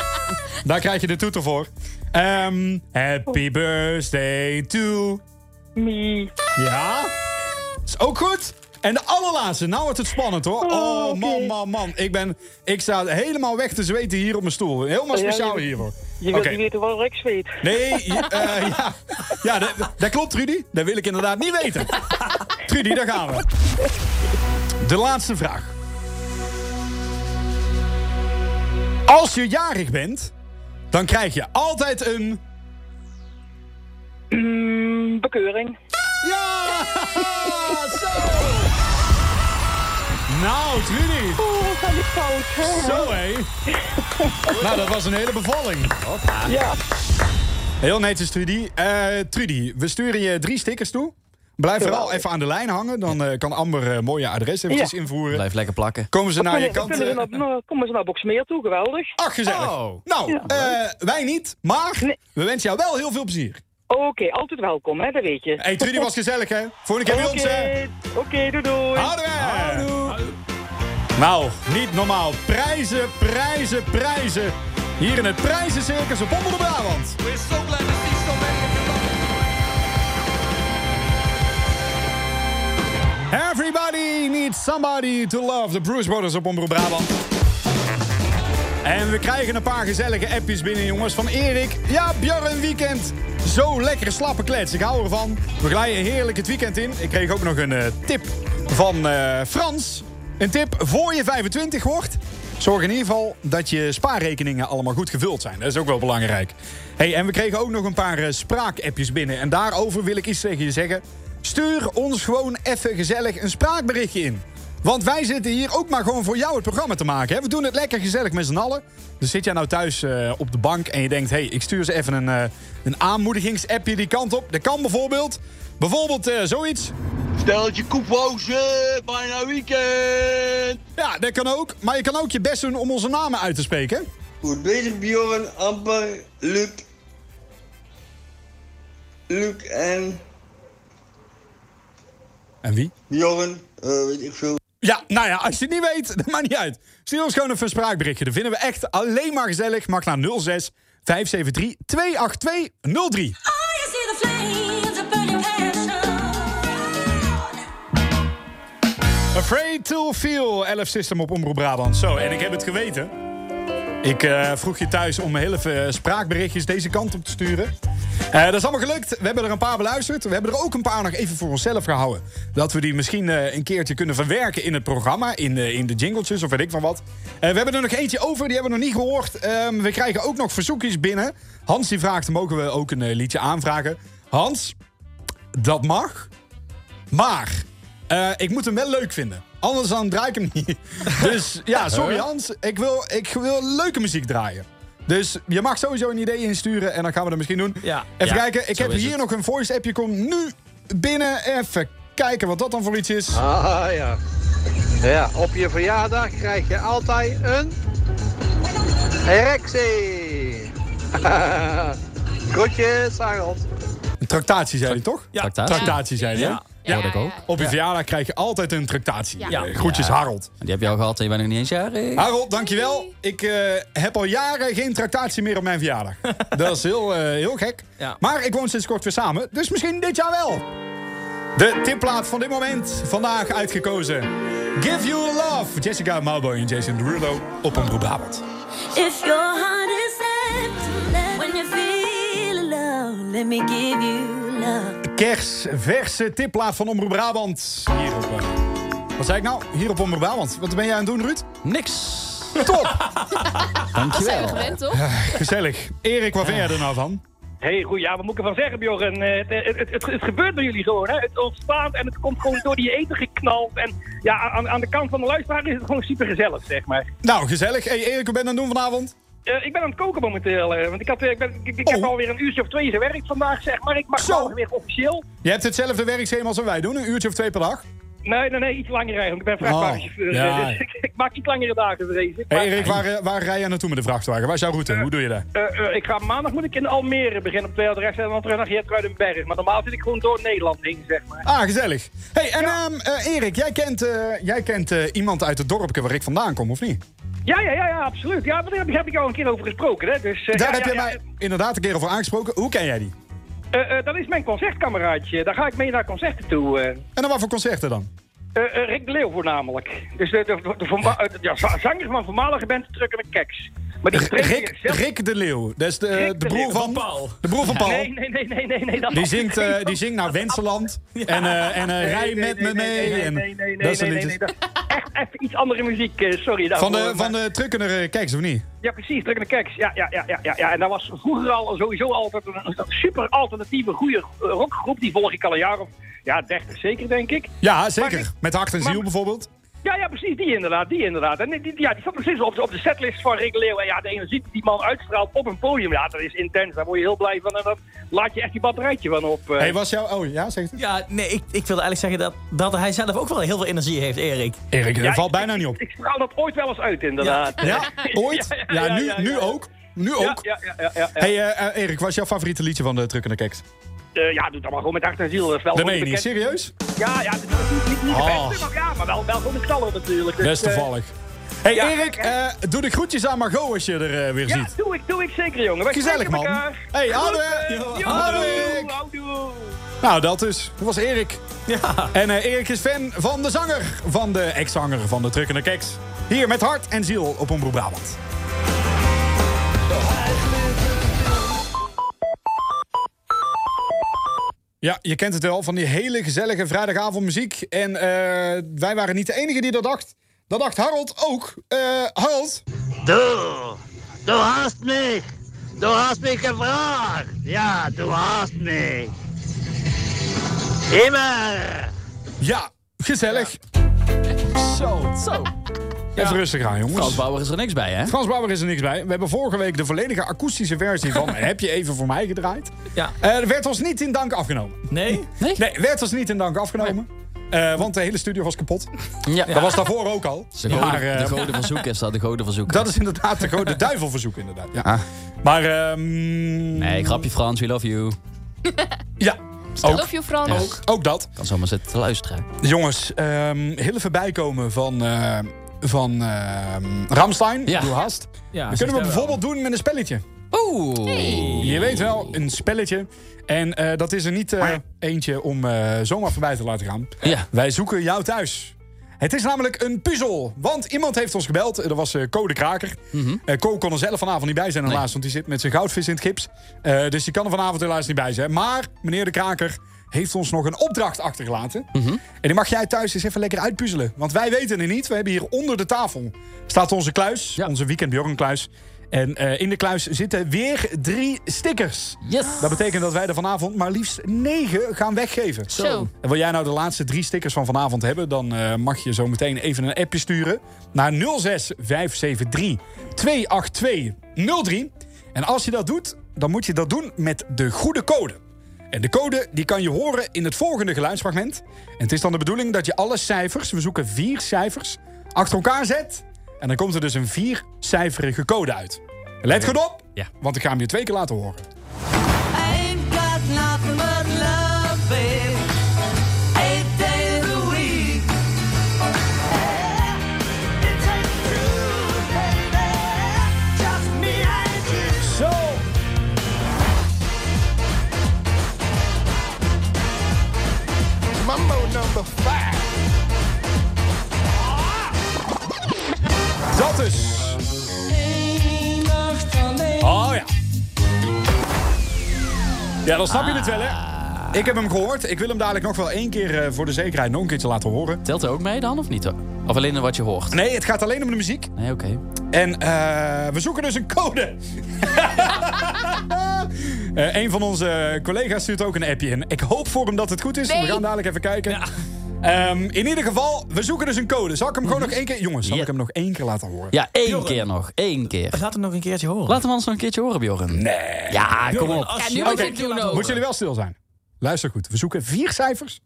Speaker 6: Daar krijg je de toeter voor. Ehm, happy birthday to...
Speaker 18: Oh. Me.
Speaker 6: Ja, is ook goed. En de allerlaatste, nou wordt het spannend hoor. Oh, man, man, man. Ik, ben, ik sta helemaal weg te zweten hier op mijn stoel. Helemaal
Speaker 18: Ja, je-
Speaker 6: speciaal hier hoor.
Speaker 18: Je wilt
Speaker 6: Oké.
Speaker 18: niet weten waar ik zweet.
Speaker 6: Nee, je- eh, ja. Ja, dat, dat klopt, Trudy. Dat wil ik inderdaad niet weten. Trudy, daar gaan we. De laatste vraag. Als je jarig bent, dan krijg je altijd een...
Speaker 18: Mm, bekeuring.
Speaker 6: Ja! Zo! Nou, Trudy.
Speaker 18: Oh, dat is fout.
Speaker 6: Zo, hé. Nou, dat was een hele bevalling.
Speaker 18: Ja.
Speaker 6: Heel netjes, Trudy. Eh, Trudy, we sturen je drie stickers toe. Blijf vooral even aan de lijn hangen. Dan eh, kan Amber eh, mooie adres eventjes
Speaker 18: Ja.
Speaker 6: invoeren.
Speaker 11: Blijf lekker plakken.
Speaker 6: Komen ze naar je
Speaker 18: Dan
Speaker 6: kant?
Speaker 18: kunnen ze
Speaker 6: eh,
Speaker 18: naar, nou, komen ze naar Boxmeer toe, geweldig.
Speaker 6: Ach, gezellig.
Speaker 11: Oh.
Speaker 6: Nou, eh, wij niet, maar we wensen jou wel heel veel plezier.
Speaker 18: Oké, altijd welkom, hè, dat weet je.
Speaker 6: hey, Trudy was gezellig, hè? Volgende keer bij ons, hè?
Speaker 18: Oké, Oké, doei doei.
Speaker 6: Houden we! Nou, niet normaal. Prijzen, prijzen, prijzen. Hier in het prijzencircus op Omroep Brabant. Everybody needs somebody to love. De Bruce Brothers op Omroep Brabant. En we krijgen een paar gezellige appjes binnen, jongens. Van Erik. Ja, Björn Weekend. Zo lekker slappe klets. Ik hou ervan. We glijden heerlijk het weekend in. Ik kreeg ook nog een eh, tip van eh, Frans. Een tip voor je 25 wordt. Zorg in ieder geval dat je spaarrekeningen allemaal goed gevuld zijn. Dat is ook wel belangrijk. Hey, en we kregen ook nog een paar eh, spraakappjes binnen. En daarover wil ik iets tegen je zeggen. Stuur ons gewoon even gezellig een spraakberichtje in. Want wij zitten hier ook maar gewoon voor jou het programma te maken. Hè? We doen het lekker gezellig met z'n allen. Dus zit jij nou thuis eh, op de bank en je denkt... hé, hey, ik stuur ze even een, eh een aanmoedigingsappje die kant op. Dat kan bijvoorbeeld. Bijvoorbeeld eh, zoiets. Steltje koepwozen, bijna weekend. Ja, dat kan ook. Maar je kan ook je best doen om onze namen uit te spreken. Goed bezig, Bjorn, Amber, Luc.
Speaker 19: Luc en...
Speaker 6: En wie?
Speaker 19: Bjorn, eh, weet ik veel.
Speaker 6: Ja, nou ja, als je het niet weet, dat maakt niet uit. Stuur ons gewoon even een spraakberichtje. Dat vinden we echt alleen maar gezellig. Mag naar 06 573 28203. Afraid to feel, 11 System op Omroep Brabant. Zo, en ik heb het geweten. Ik eh, vroeg je thuis om heel even eh, spraakberichtjes deze kant op te sturen. Eh, dat is allemaal gelukt. We hebben er een paar beluisterd. We hebben er ook een paar nog even voor onszelf gehouden. Dat we die misschien eh, een keertje kunnen verwerken in het programma. In, eh, in de jingletjes of weet ik van wat. Eh, we hebben er nog eentje over. Die hebben we nog niet gehoord. Ehm, we krijgen ook nog verzoekjes binnen. Hans die vraagt, mogen we ook een eh, liedje aanvragen? Hans, dat mag. Maar eh, ik moet hem wel leuk vinden. Anders dan draai ik hem niet. Dus ja, sorry Hans. Ik wil, ik wil leuke muziek draaien. Dus je mag sowieso een idee insturen en dan gaan we dat misschien doen.
Speaker 7: Ja,
Speaker 6: Even
Speaker 7: ja,
Speaker 6: kijken. Ik
Speaker 7: zo
Speaker 6: heb
Speaker 7: is
Speaker 6: hier
Speaker 7: het.
Speaker 6: nog een voice appje. Komt nu binnen. Even kijken wat dat dan voor iets is.
Speaker 20: Ah ja. Ja, op je verjaardag krijg je altijd een erectie. Groetjes, Arnold.
Speaker 6: Een tractatie zei hij toch?
Speaker 7: Ja.
Speaker 11: Tractatie.
Speaker 6: Tractatie zei hij. hè?
Speaker 11: Ja. Ja, dat ook.
Speaker 6: Op je verjaardag krijg je altijd een tractatie.
Speaker 11: Ja.
Speaker 6: Eh, Groetjes Harold.
Speaker 11: Die heb je al gehad en je bent nog niet eens jarig.
Speaker 6: Harold, dankjewel. Ik eh, heb al jaren geen tractatie meer op mijn verjaardag. Dat is heel, eh, heel gek. Maar ik woon sinds kort weer samen, dus misschien dit jaar wel. De tipplaat van dit moment, vandaag uitgekozen. Give You Love, Jessica Malbo en Jason Derulo op een Brabant.
Speaker 16: If your heart is empty, when you feel alone, let me give you love.
Speaker 6: Kersverse tipplaat van Omroep Brabant. Hier op, eh, wat zei ik nou? Hier op Omroep Brabant. Wat ben jij aan het doen, Ruud?
Speaker 11: Niks.
Speaker 6: Top!
Speaker 11: Dankjewel.
Speaker 10: Dat zijn we gewend, toch?
Speaker 6: Gezellig. Erik, wat vind jij er nou van?
Speaker 10: hey, goed, ja, wat moet ik ervan zeggen, Bjorn? Eh, Het, het, het, het, het gebeurt bij jullie gewoon, hè? Het ontstaat en het komt gewoon door die eten geknald. En ja, aan, aan de kant van de luisteraar is het gewoon super gezellig, zeg maar.
Speaker 6: Nou, gezellig. Hey, Erik, wat ben je aan het doen vanavond?
Speaker 10: Eh, ik ben aan het koken momenteel, eh, want ik, had, eh, ik, ben, ik, ik
Speaker 6: Oh.
Speaker 10: heb alweer een uurtje of twee gewerkt vandaag, zeg maar. Ik mag morgen weer officieel.
Speaker 6: Je hebt hetzelfde werkschema als wij doen, een uurtje of twee per dag.
Speaker 10: Nee, nee, nee, iets langer eigenlijk. Ik ben vrachtwagenchauffeur,
Speaker 6: Oh, ja.
Speaker 10: eh, dus ik, ik maak iets langere dagen, vrees ik.
Speaker 6: Hey
Speaker 10: Maar-
Speaker 6: Erik, waar, eh, waar rij je naartoe met de vrachtwagen? Waar is jouw route? Hoe doe je dat?
Speaker 10: Eh, eh, ik ga maandag moet ik in Almere beginnen op de adres en dan terug naar Geertruidenberg. Maar normaal zit ik gewoon door Nederland heen, zeg maar.
Speaker 6: Ah, gezellig. Hey, en ehm, eh, Erik, jij kent, eh, jij kent eh, iemand uit het dorpje waar ik vandaan kom, of niet?
Speaker 10: Ja, ja, ja, ja absoluut. Ja, maar daar heb ik- heb ik al een keer over gesproken. Hè. Dus, eh,
Speaker 6: Daar
Speaker 10: ja,
Speaker 6: heb
Speaker 10: ja,
Speaker 6: je
Speaker 10: ja.
Speaker 6: mij inderdaad een keer over aangesproken. Hoe ken jij die?
Speaker 10: Eh, eh, dat is mijn concertkameraadje. Daar ga ik mee naar concerten toe. eh.
Speaker 6: En dan wat voor concerten dan?
Speaker 10: Eh, eh, Rick de Leeuw voornamelijk. Dus de, de, de, de voorma- eh, de- ja, za- zanger van voormalige band Truck en Keks. Maar die treedt
Speaker 6: Rick, Rick de Leeuw. Dat is de,
Speaker 10: Rick
Speaker 6: de
Speaker 10: de
Speaker 6: broer
Speaker 10: Leeuw.
Speaker 6: van,
Speaker 10: Van Paul.
Speaker 6: De broer van Paul.
Speaker 10: Nee, nee, nee, nee, nee, nee. dat-
Speaker 6: Die zingt, eh, die zingt naar Wenseland. En, eh, en eh,
Speaker 10: Nee,
Speaker 6: rij
Speaker 10: nee,
Speaker 6: met
Speaker 10: nee,
Speaker 6: me
Speaker 10: nee,
Speaker 6: mee.
Speaker 10: Nee, nee,
Speaker 6: en
Speaker 10: nee, nee,
Speaker 6: dat
Speaker 10: nee,
Speaker 6: is
Speaker 10: nee, nee, dat is Echt even iets andere muziek, eh, sorry.
Speaker 6: Van de,
Speaker 10: daarvoor,
Speaker 6: van
Speaker 10: maar-
Speaker 6: de truckende kijkers, of niet?
Speaker 10: Ja, precies, Truck en Keks. Ja, ja, ja, ja, ja, ja. En dat was vroeger al sowieso altijd een, een super alternatieve, goede eh, rockgroep. Die volg ik al een jaar of ja, 30 zeker, denk ik.
Speaker 6: Ja, zeker. Met hart en ziel bijvoorbeeld.
Speaker 10: Ja, ja, precies, die inderdaad, die inderdaad. En die, die- ja, die zat precies op de, op de setlist van Rick Leeuw. En ja, de energie die die man uitstraalt op een podium, ja, dat is intens. Daar word je heel blij van en dan laat je echt die batterijtje van op. eh.
Speaker 6: Hey, was jouw... Oh, ja, zeg het.
Speaker 7: Ja, nee, ik, ik wilde eigenlijk zeggen dat, dat hij zelf ook wel heel veel energie heeft, Erik.
Speaker 6: Erik, dat
Speaker 7: Ja,
Speaker 6: valt bijna niet op.
Speaker 10: Ik straal dat ooit wel eens uit, inderdaad.
Speaker 6: Ja, ooit? Ja, nu, nu ook. Nu
Speaker 10: Ja,
Speaker 6: ook.
Speaker 10: Ja, ja, ja, ja, ja.
Speaker 6: Hey eh, eh, Erik, wat is jouw favoriete liedje van de Truck en de Keks?
Speaker 10: Eh, ja, doe dat maar gewoon met hart en ziel. Dat is wel
Speaker 6: Dat
Speaker 10: gewoon
Speaker 6: meen je niet,
Speaker 10: bekend-
Speaker 6: serieus?
Speaker 10: Ja, ja, dat is niet, niet, niet de
Speaker 6: Oh.
Speaker 10: beste, maar, ja, maar wel, wel gewoon de knaller natuurlijk. Dus,
Speaker 6: Best
Speaker 10: eh,
Speaker 6: toevallig. Hey
Speaker 10: ja,
Speaker 6: Erik, eh, doe de groetjes aan Margot als je er eh, weer
Speaker 10: Ja,
Speaker 6: ziet.
Speaker 10: doe ik, doe ik zeker, jongen. Wij
Speaker 6: Gezellig,
Speaker 10: spreken
Speaker 6: man.
Speaker 10: elkaar.
Speaker 6: Hey,
Speaker 10: Goed.
Speaker 6: houdoe.
Speaker 10: Jo,
Speaker 6: Houdoe.
Speaker 10: houdoe.
Speaker 6: Nou, dat dus. Dat was Erik.
Speaker 7: Ja.
Speaker 6: En eh, Erik is fan van de zanger, van de ex-zanger van de Truckende Keks. Hier met hart en ziel op Omroep Brabant. Ja, je kent het wel, van die hele gezellige vrijdagavondmuziek. En eh, wij waren niet de enige die dat dacht. Dat dacht Harold ook. Eh, Harold?
Speaker 21: Du, du hast mich, du hast mich gefragt. Ja, du hast mich. Immer.
Speaker 6: Ja, gezellig. Zo, zo. Even rustig aan, jongens.
Speaker 11: Frans Bauer is er niks bij, hè?
Speaker 6: Frans Bauer is er niks bij. We hebben vorige week de volledige akoestische versie van Heb je even voor mij gedraaid?
Speaker 7: Ja.
Speaker 6: Eh, werd ons niet in dank afgenomen.
Speaker 7: Nee?
Speaker 6: Nee? werd ons niet in dank afgenomen. Eh, want de hele studio was kapot.
Speaker 11: Ja.
Speaker 6: Dat was daarvoor ook al.
Speaker 11: De goden,
Speaker 6: Maar, eh,
Speaker 11: de goden van zoek is dat, de goden van zoek.
Speaker 6: dat is inderdaad de grote duivelverzoek, inderdaad. Ja. Maar, ehm
Speaker 11: Ah. Nee, grapje Frans, we love you.
Speaker 6: Ja,
Speaker 8: Ook. Love you, Frans.
Speaker 11: Ja.
Speaker 8: Ook.
Speaker 6: ook dat.
Speaker 11: Kan zomaar zitten te luisteren.
Speaker 6: Jongens, ehm, heel even bijkomen van, eh, van ehm, Ramstein.
Speaker 11: Ja.
Speaker 6: Doe haast.
Speaker 7: Ja, zegt
Speaker 6: Dat kunnen we
Speaker 7: hij wel.
Speaker 6: bijvoorbeeld doen met een spelletje.
Speaker 11: Oeh.
Speaker 6: Je weet wel, een spelletje. En eh, dat is er niet eh, eentje om eh, zomaar voorbij te laten gaan.
Speaker 11: Ja.
Speaker 6: Wij zoeken jou thuis. Het is namelijk een puzzel. Want iemand heeft ons gebeld. Er was eh, Code Kraker. Eh, Co kon er zelf vanavond niet bij zijn helaas. Want die zit met zijn goudvis in het gips. Eh, dus die kan er vanavond helaas niet bij zijn. Maar meneer de Kraker heeft ons nog een opdracht achtergelaten. En die mag jij thuis eens even lekker uitpuzzelen. Want wij weten het niet. We hebben hier onder de tafel staat onze kluis. Onze Weekend Bjorn kluis. En eh, in de kluis zitten weer drie stickers.
Speaker 11: Yes.
Speaker 6: Dat betekent dat wij er vanavond maar liefst negen gaan weggeven.
Speaker 8: Zo.
Speaker 6: En wil jij nou de laatste drie stickers van vanavond hebben... dan eh, mag je zo meteen even een appje sturen naar 06-573-28203. En als je dat doet, dan moet je dat doen met de goede code. En de code die kan je horen in het volgende geluidsfragment. En het is dan de bedoeling dat je alle cijfers... we zoeken vier cijfers, achter elkaar zet... en dan komt er dus een viercijferige code uit. Let goed op,
Speaker 11: Ja.
Speaker 6: want ik ga hem je twee keer laten horen.
Speaker 15: Ain't got nothing but love, babe. Eight days a week. It ain't true, baby. Just me and you.
Speaker 6: Zo!
Speaker 15: Mambo number five.
Speaker 6: Dat dus. Oh ja. Ja, dan snap je het wel, hè? Ah. Ik heb hem gehoord. Ik wil hem dadelijk nog wel één keer eh, voor de zekerheid nog een keertje laten horen.
Speaker 11: Telt er ook mee dan, of niet? Of alleen wat je hoort?
Speaker 6: Nee, het gaat alleen om de muziek.
Speaker 11: Nee, oké.
Speaker 6: En eh, we zoeken dus een code. Eh, een van onze collega's stuurt ook een appje in. Ik hoop voor hem dat het goed is.
Speaker 8: Nee.
Speaker 6: We gaan dadelijk even kijken. Ehm, in ieder geval, we zoeken dus een code. Zal ik hem gewoon nog één keer... Jongens, zal
Speaker 11: Ja.
Speaker 6: ik hem nog één keer laten horen?
Speaker 11: Ja, één
Speaker 7: Bjorn.
Speaker 11: keer nog. Eén keer.
Speaker 7: Laat hem nog een keertje horen.
Speaker 11: Laten we ons nog een keertje horen, Bjorn.
Speaker 6: Nee.
Speaker 11: Ja, kom
Speaker 7: Bjorn,
Speaker 11: op.
Speaker 7: als
Speaker 8: Ja,
Speaker 7: je-
Speaker 8: nu
Speaker 7: Oké.
Speaker 8: moet je het doen ook.
Speaker 6: Moeten jullie wel stil zijn? Luister goed. We zoeken vier cijfers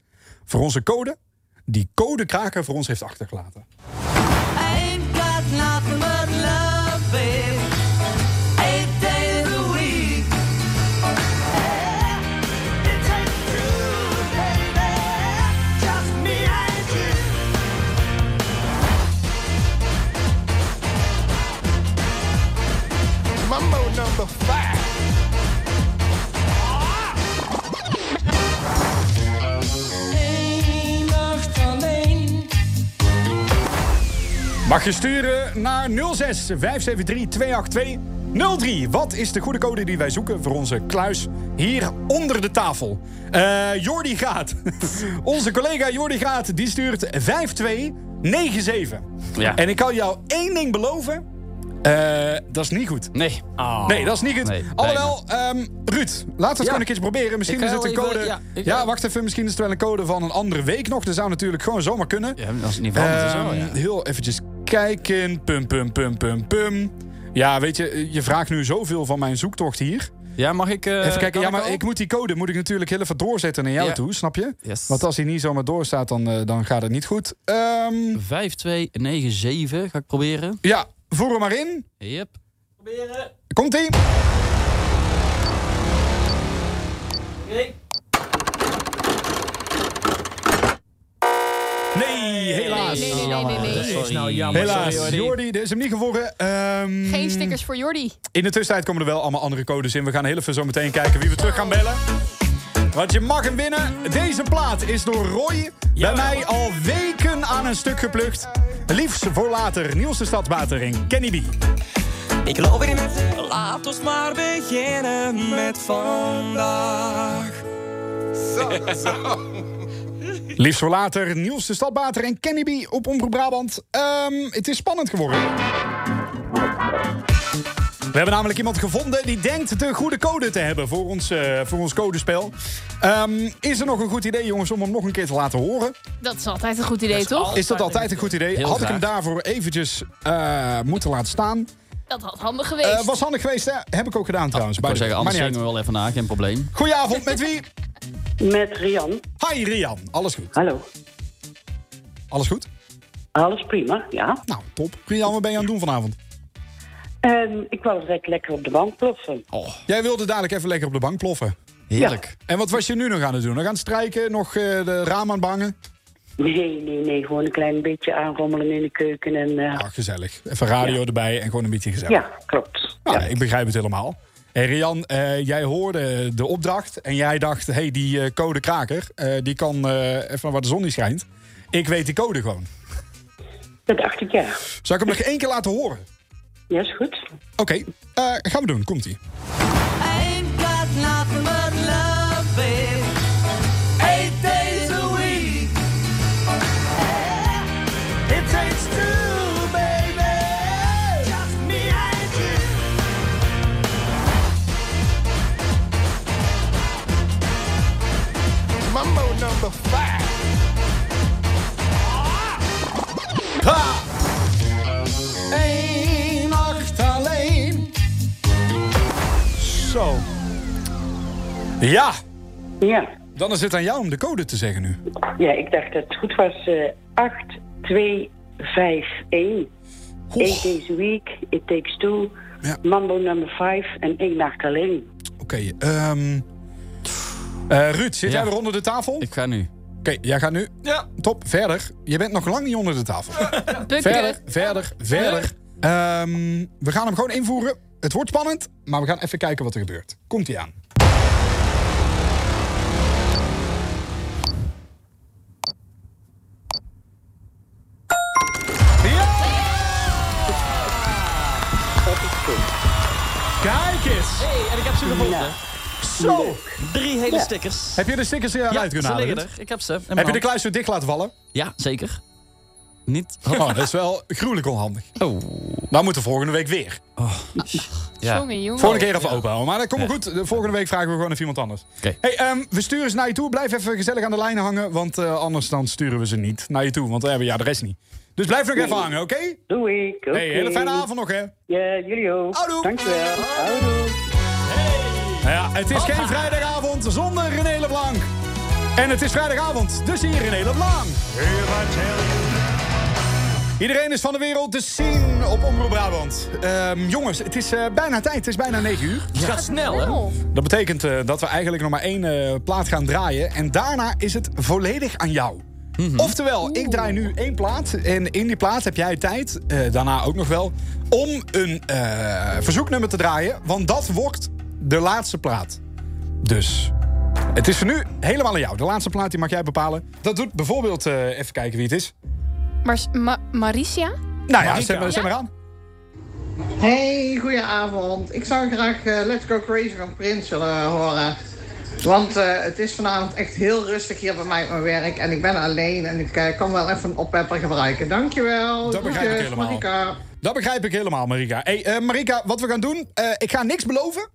Speaker 6: voor onze code. Die codekraker voor ons heeft achtergelaten.
Speaker 15: Ain't got nothing but love, babe. Eight days a week. It ain't true, baby. Just me and you. Mambo number five.
Speaker 6: Mag je sturen naar 06 573 282 03. Wat is de goede code die wij zoeken voor onze kluis hier onder de tafel? Eh Jordi Gaat. onze collega Jordi Gaat die stuurt 5297.
Speaker 11: Ja.
Speaker 6: En ik kan jou één ding beloven. Eh, dat is niet goed.
Speaker 11: Nee.
Speaker 6: Nee, dat is niet goed.
Speaker 11: Oh. Nee, bijna.
Speaker 6: Alhoewel, ehm, Ruud, laten we het gewoon een keertje proberen. Misschien
Speaker 11: Ik
Speaker 6: is
Speaker 11: ga
Speaker 6: het een
Speaker 11: wel
Speaker 6: code.
Speaker 11: even-
Speaker 6: ja,
Speaker 11: ja, ik-
Speaker 6: wacht even. Misschien is het wel een code van een andere week nog. Dat zou natuurlijk gewoon zomaar kunnen.
Speaker 11: Ja, als het niet verandert, is het wel,
Speaker 6: Ehm,
Speaker 11: ja.
Speaker 6: Heel eventjes kijken. Pum, pum, pum, pum, pum. Ja, weet je, je vraagt nu zoveel van mijn zoektocht hier.
Speaker 11: Ja, mag ik... eh,
Speaker 6: even kijken,
Speaker 11: kan
Speaker 6: ja, maar
Speaker 11: al?
Speaker 6: ik moet die code moet ik natuurlijk heel even doorzetten naar jou
Speaker 11: Ja.
Speaker 6: toe, snap je?
Speaker 11: Yes.
Speaker 6: Want als hij niet zomaar doorstaat, dan, eh, dan gaat het niet goed. Ehm,
Speaker 11: 5297 ga ik proberen.
Speaker 6: ja, voer hem maar in.
Speaker 11: Yep.
Speaker 6: Komt-ie. Nee, helaas.
Speaker 8: Nee, nee, nee, nee,
Speaker 11: Eh,
Speaker 8: nee.
Speaker 7: Dat is nou jammer.
Speaker 6: Helaas,
Speaker 7: Sorry, Jordi.
Speaker 6: Jordi, dit is hem niet geworden. Ehm,
Speaker 8: Geen stickers voor Jordi.
Speaker 6: In de tussentijd komen er wel allemaal andere codes in. We gaan heel even zo meteen kijken wie we terug gaan bellen. Want je mag hem winnen. Deze plaat is door Roy bij mij al weken aan een stuk geplukt. Liefst voor later. Niels de Stadsbatering, Kenny B.
Speaker 22: Ik geloof in het. Laat ons maar beginnen met vandaag. Zo, zo.
Speaker 6: Liefst voor later, Niels de Stadbater en Kenny B op Omroep Brabant. Ehm, het is spannend geworden. We hebben namelijk iemand gevonden die denkt de goede code te hebben voor ons, eh, voor ons codespel. Ehm, is er nog een goed idee, jongens, om hem nog een keer te laten horen?
Speaker 8: Dat is altijd een goed idee, toch?
Speaker 6: Is dat altijd een goed idee?
Speaker 8: Heel
Speaker 6: Had ik hem
Speaker 8: graag.
Speaker 6: daarvoor eventjes eh, moeten laten staan?
Speaker 8: Dat had handig geweest.
Speaker 6: Eh, was handig geweest, hè? Heb ik ook gedaan trouwens.
Speaker 11: Ik wou
Speaker 6: by the
Speaker 11: zeggen,
Speaker 6: way.
Speaker 11: anders
Speaker 6: Maar niet
Speaker 11: zingen we wel even na, geen probleem.
Speaker 6: uit. Goedenavond, met wie?
Speaker 23: Met Rian.
Speaker 6: Hi Rian, alles goed?
Speaker 23: Hallo.
Speaker 6: Alles goed?
Speaker 23: Alles prima, ja.
Speaker 6: Nou, top. Rian, wat ben je aan het doen vanavond?
Speaker 23: En Ehm, ik wou direct lekker op de bank ploffen.
Speaker 6: Jij wilde dadelijk even lekker op de bank ploffen.
Speaker 23: Heerlijk.
Speaker 6: En wat was je nu nog aan het doen? Nog aan het strijken? Nog eh, de raam aan bangen?
Speaker 23: Nee, nee, nee. Gewoon een klein beetje aanrommelen in de keuken. En, eh,
Speaker 6: Ah, Gezellig. Even radio erbij en gewoon een beetje gezellig.
Speaker 23: Ja, klopt.
Speaker 6: Nou, nee, ik begrijp het helemaal. Hey Rian, eh, jij hoorde de opdracht en jij dacht... hé, hey, die eh, code kraker, eh, die kan eh, even waar de zon niet schijnt. Ik weet die code gewoon.
Speaker 23: Dat dacht ik, ja.
Speaker 6: Zal ik hem nog één keer laten horen?
Speaker 23: Ja, is goed.
Speaker 6: Oké, eh, gaan we doen. Komt-ie.
Speaker 15: ain't got nothing but love, babe. Eight days a week. It takes two, baby. Just me and you. Mambo number five.
Speaker 6: Ha!
Speaker 15: Eén nacht alleen.
Speaker 6: Zo. Ja.
Speaker 23: Ja.
Speaker 6: Dan is het aan jou om de code te zeggen nu.
Speaker 23: Ja, ik dacht dat het goed was. eh 8, 2, 5, 1. Eight days a week. It takes two. Mambo number 5 en één nacht alleen.
Speaker 6: Oké, ehm, eh, Ruud, zit jij weer onder de tafel? Ik
Speaker 11: ga nu.
Speaker 6: Oké, jij gaat nu. Ja. Top, verder. Je bent nog lang niet onder de tafel. verder, verder, verder. Ehm, we gaan hem gewoon invoeren. Het wordt spannend, maar we gaan even kijken wat er gebeurt. Komt ie aan. Kijk eens!
Speaker 11: hey, en ik heb ze gevonden.
Speaker 6: Zo!
Speaker 11: Drie hele
Speaker 6: Ja.
Speaker 11: stickers.
Speaker 6: Heb je de stickers eh, eruit
Speaker 11: Ja,
Speaker 6: kunnen
Speaker 11: ze
Speaker 6: halen?
Speaker 11: liggen
Speaker 6: Ruud?
Speaker 11: er. Ik heb ze. in mijn
Speaker 6: Heb je de
Speaker 11: hand.
Speaker 6: kluis zo dicht laten vallen?
Speaker 11: Ja, zeker. Niet.
Speaker 6: Oh, dat is wel gruwelijk onhandig.
Speaker 11: Oh.
Speaker 6: Nou moeten we volgende week weer.
Speaker 11: Ja.
Speaker 8: Jongen, jongen.
Speaker 6: Volgende keer even open houden. Maar dat komt
Speaker 11: Oh,
Speaker 6: wel
Speaker 11: Ja.
Speaker 6: goed. De volgende week vragen we gewoon even iemand anders. Hey, ehm, we sturen ze naar je toe. Blijf even gezellig aan de lijnen hangen. Want eh, anders dan sturen we ze niet naar je toe. Want we hebben ja, de rest niet. Dus blijf nog even hangen, oké?
Speaker 23: Doei. Oké.
Speaker 6: Hey, hele fijne avond nog, hè?
Speaker 23: Ja, jullie ook.
Speaker 6: Houdoe.
Speaker 23: Dankjewel. Houdoe.
Speaker 6: Nou ja, het is geen vrijdagavond zonder René Leblanc. En het is vrijdagavond, dus hier René Leblanc. Iedereen is van de wereld te zien op Omroep Brabant. Ehm, jongens, het is eh, bijna tijd. Het is bijna 9 uur.
Speaker 11: Het gaat snel,
Speaker 8: Oh.
Speaker 11: hè?
Speaker 6: Dat betekent eh, dat we eigenlijk nog maar één eh, plaat gaan draaien. En daarna is het volledig aan jou. Oftewel, ik draai nu één plaat. En in die plaat heb jij tijd, eh, daarna ook nog wel, om een eh, verzoeknummer te draaien. Want dat wordt de laatste plaat. Dus het is voor nu helemaal aan jou. De laatste plaat die mag jij bepalen. Dat doet bijvoorbeeld, eh, even kijken wie het is.
Speaker 8: Maar Ma- Maricia?
Speaker 6: Nou ja, zet maar, zet maar aan.
Speaker 24: Hey, goedenavond. Ik zou graag eh, Let's Go Crazy van Prins willen eh, horen. Want eh, het is vanavond echt heel rustig hier bij mij op mijn werk. En ik ben alleen en ik eh, kan wel even een oppepper gebruiken. Dankjewel.
Speaker 6: Dat begrijp ik
Speaker 24: Groetjes,
Speaker 6: helemaal.
Speaker 24: Marika.
Speaker 6: Dat begrijp ik helemaal, Marika. Hey, eh, Marika, wat we gaan doen, eh, ik ga niks beloven,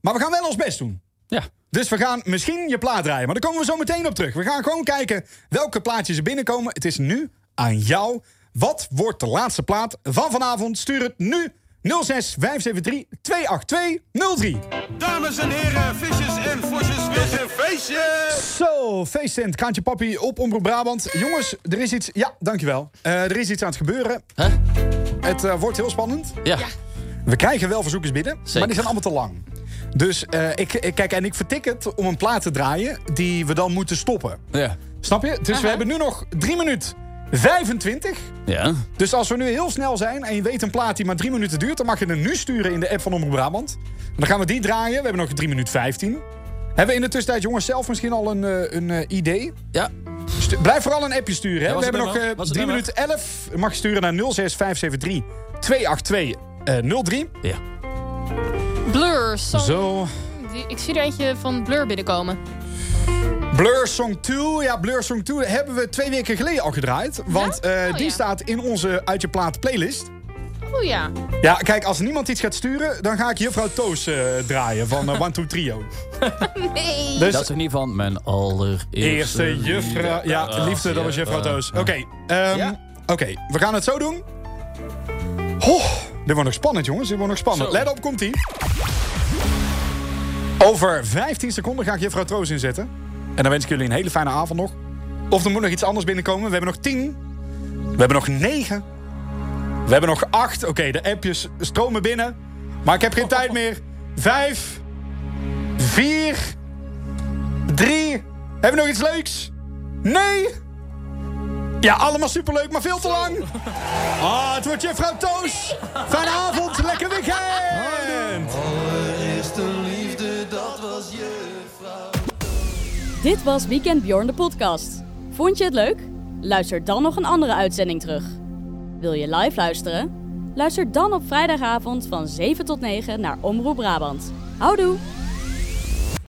Speaker 6: maar we gaan wel ons best doen.
Speaker 11: Ja.
Speaker 6: Dus we gaan misschien je plaat draaien, maar daar komen we zo meteen op terug. We gaan gewoon kijken welke plaatjes er binnenkomen. Het is nu aan jou. Wat wordt de laatste plaat van vanavond? Stuur het nu 06 573 282 03.
Speaker 17: Dames en heren, visjes en vosjes, weer een feestje!
Speaker 6: Zo, feestend, Kraantje Papi op Omroep Brabant. Jongens, er is iets... Ja, dankjewel. Eh, er is iets aan het gebeuren. Het eh, wordt heel spannend.
Speaker 11: Ja.
Speaker 6: We krijgen wel verzoekers binnen, maar die zijn allemaal te lang. Dus eh, ik, ik- kijk, en ik vertik het om een plaat te draaien die we dan moeten stoppen.
Speaker 11: Ja.
Speaker 6: Snap je? Dus we hebben nu nog 3 minuten 25.
Speaker 11: Ja.
Speaker 6: Dus als we nu heel snel zijn en je weet een plaat die maar 3 minuten duurt, dan mag je hem nu sturen in de app van Omroep Brabant. En dan gaan we die draaien. We hebben nog 3 minuten 15. Hebben we in de tussentijd, jongens, zelf misschien al een, eh, een eh, idee? Ja. blijf vooral een appje sturen. Hè?
Speaker 11: Ja,
Speaker 6: we
Speaker 11: was het
Speaker 6: hebben nog
Speaker 11: nummer?
Speaker 6: eh,
Speaker 11: Was het
Speaker 6: 3
Speaker 11: nummer?
Speaker 6: minuten 11. Je mag sturen naar 06573 282 eh 03.
Speaker 11: Ja.
Speaker 8: Blur, song.
Speaker 6: Zo.
Speaker 8: Die- Ik zie er eentje van Blur binnenkomen.
Speaker 6: Blur Song 2. Ja, Blur Song 2 hebben we twee weken geleden al gedraaid. Want eh, die staat in onze Uit Je Plaat playlist.
Speaker 8: Oh ja.
Speaker 6: Ja, kijk, als niemand iets gaat sturen, dan ga ik Juffrouw Toos eh, draaien van eh, One Two Trio.
Speaker 8: Nee.
Speaker 6: Dus-
Speaker 11: dat is in ieder geval mijn allereerste...
Speaker 6: Eerste juffrouw. Ja, liefde, dat was juffrouw Toos. Oké, ehm, oké, we gaan het zo doen. Ho, dit wordt nog spannend, jongens. Dit wordt nog spannend.
Speaker 11: Zo.
Speaker 6: Let op, komt-ie. Over 15 seconden ga ik juffrouw Toos inzetten. En dan wens ik jullie een hele fijne avond nog. Of er moet nog iets anders binnenkomen. We hebben nog 10. We hebben nog 9. We hebben nog 8. Oké, de appjes stromen binnen. Maar ik heb geen tijd meer. 5. 4. 3. Hebben we nog iets leuks? Nee. Ja, allemaal superleuk, maar veel te lang. Ah, het wordt juffrouw Toos. Fijne avond, lekker weekend.
Speaker 15: Allereerste liefde, dat was je vrouw.
Speaker 1: Dit was Weekend Bjorn de podcast. Vond je het leuk? Luister dan nog een andere uitzending terug. Wil je live luisteren? Luister dan op vrijdagavond van 7 tot 9 naar Omroep Brabant. Houdoe!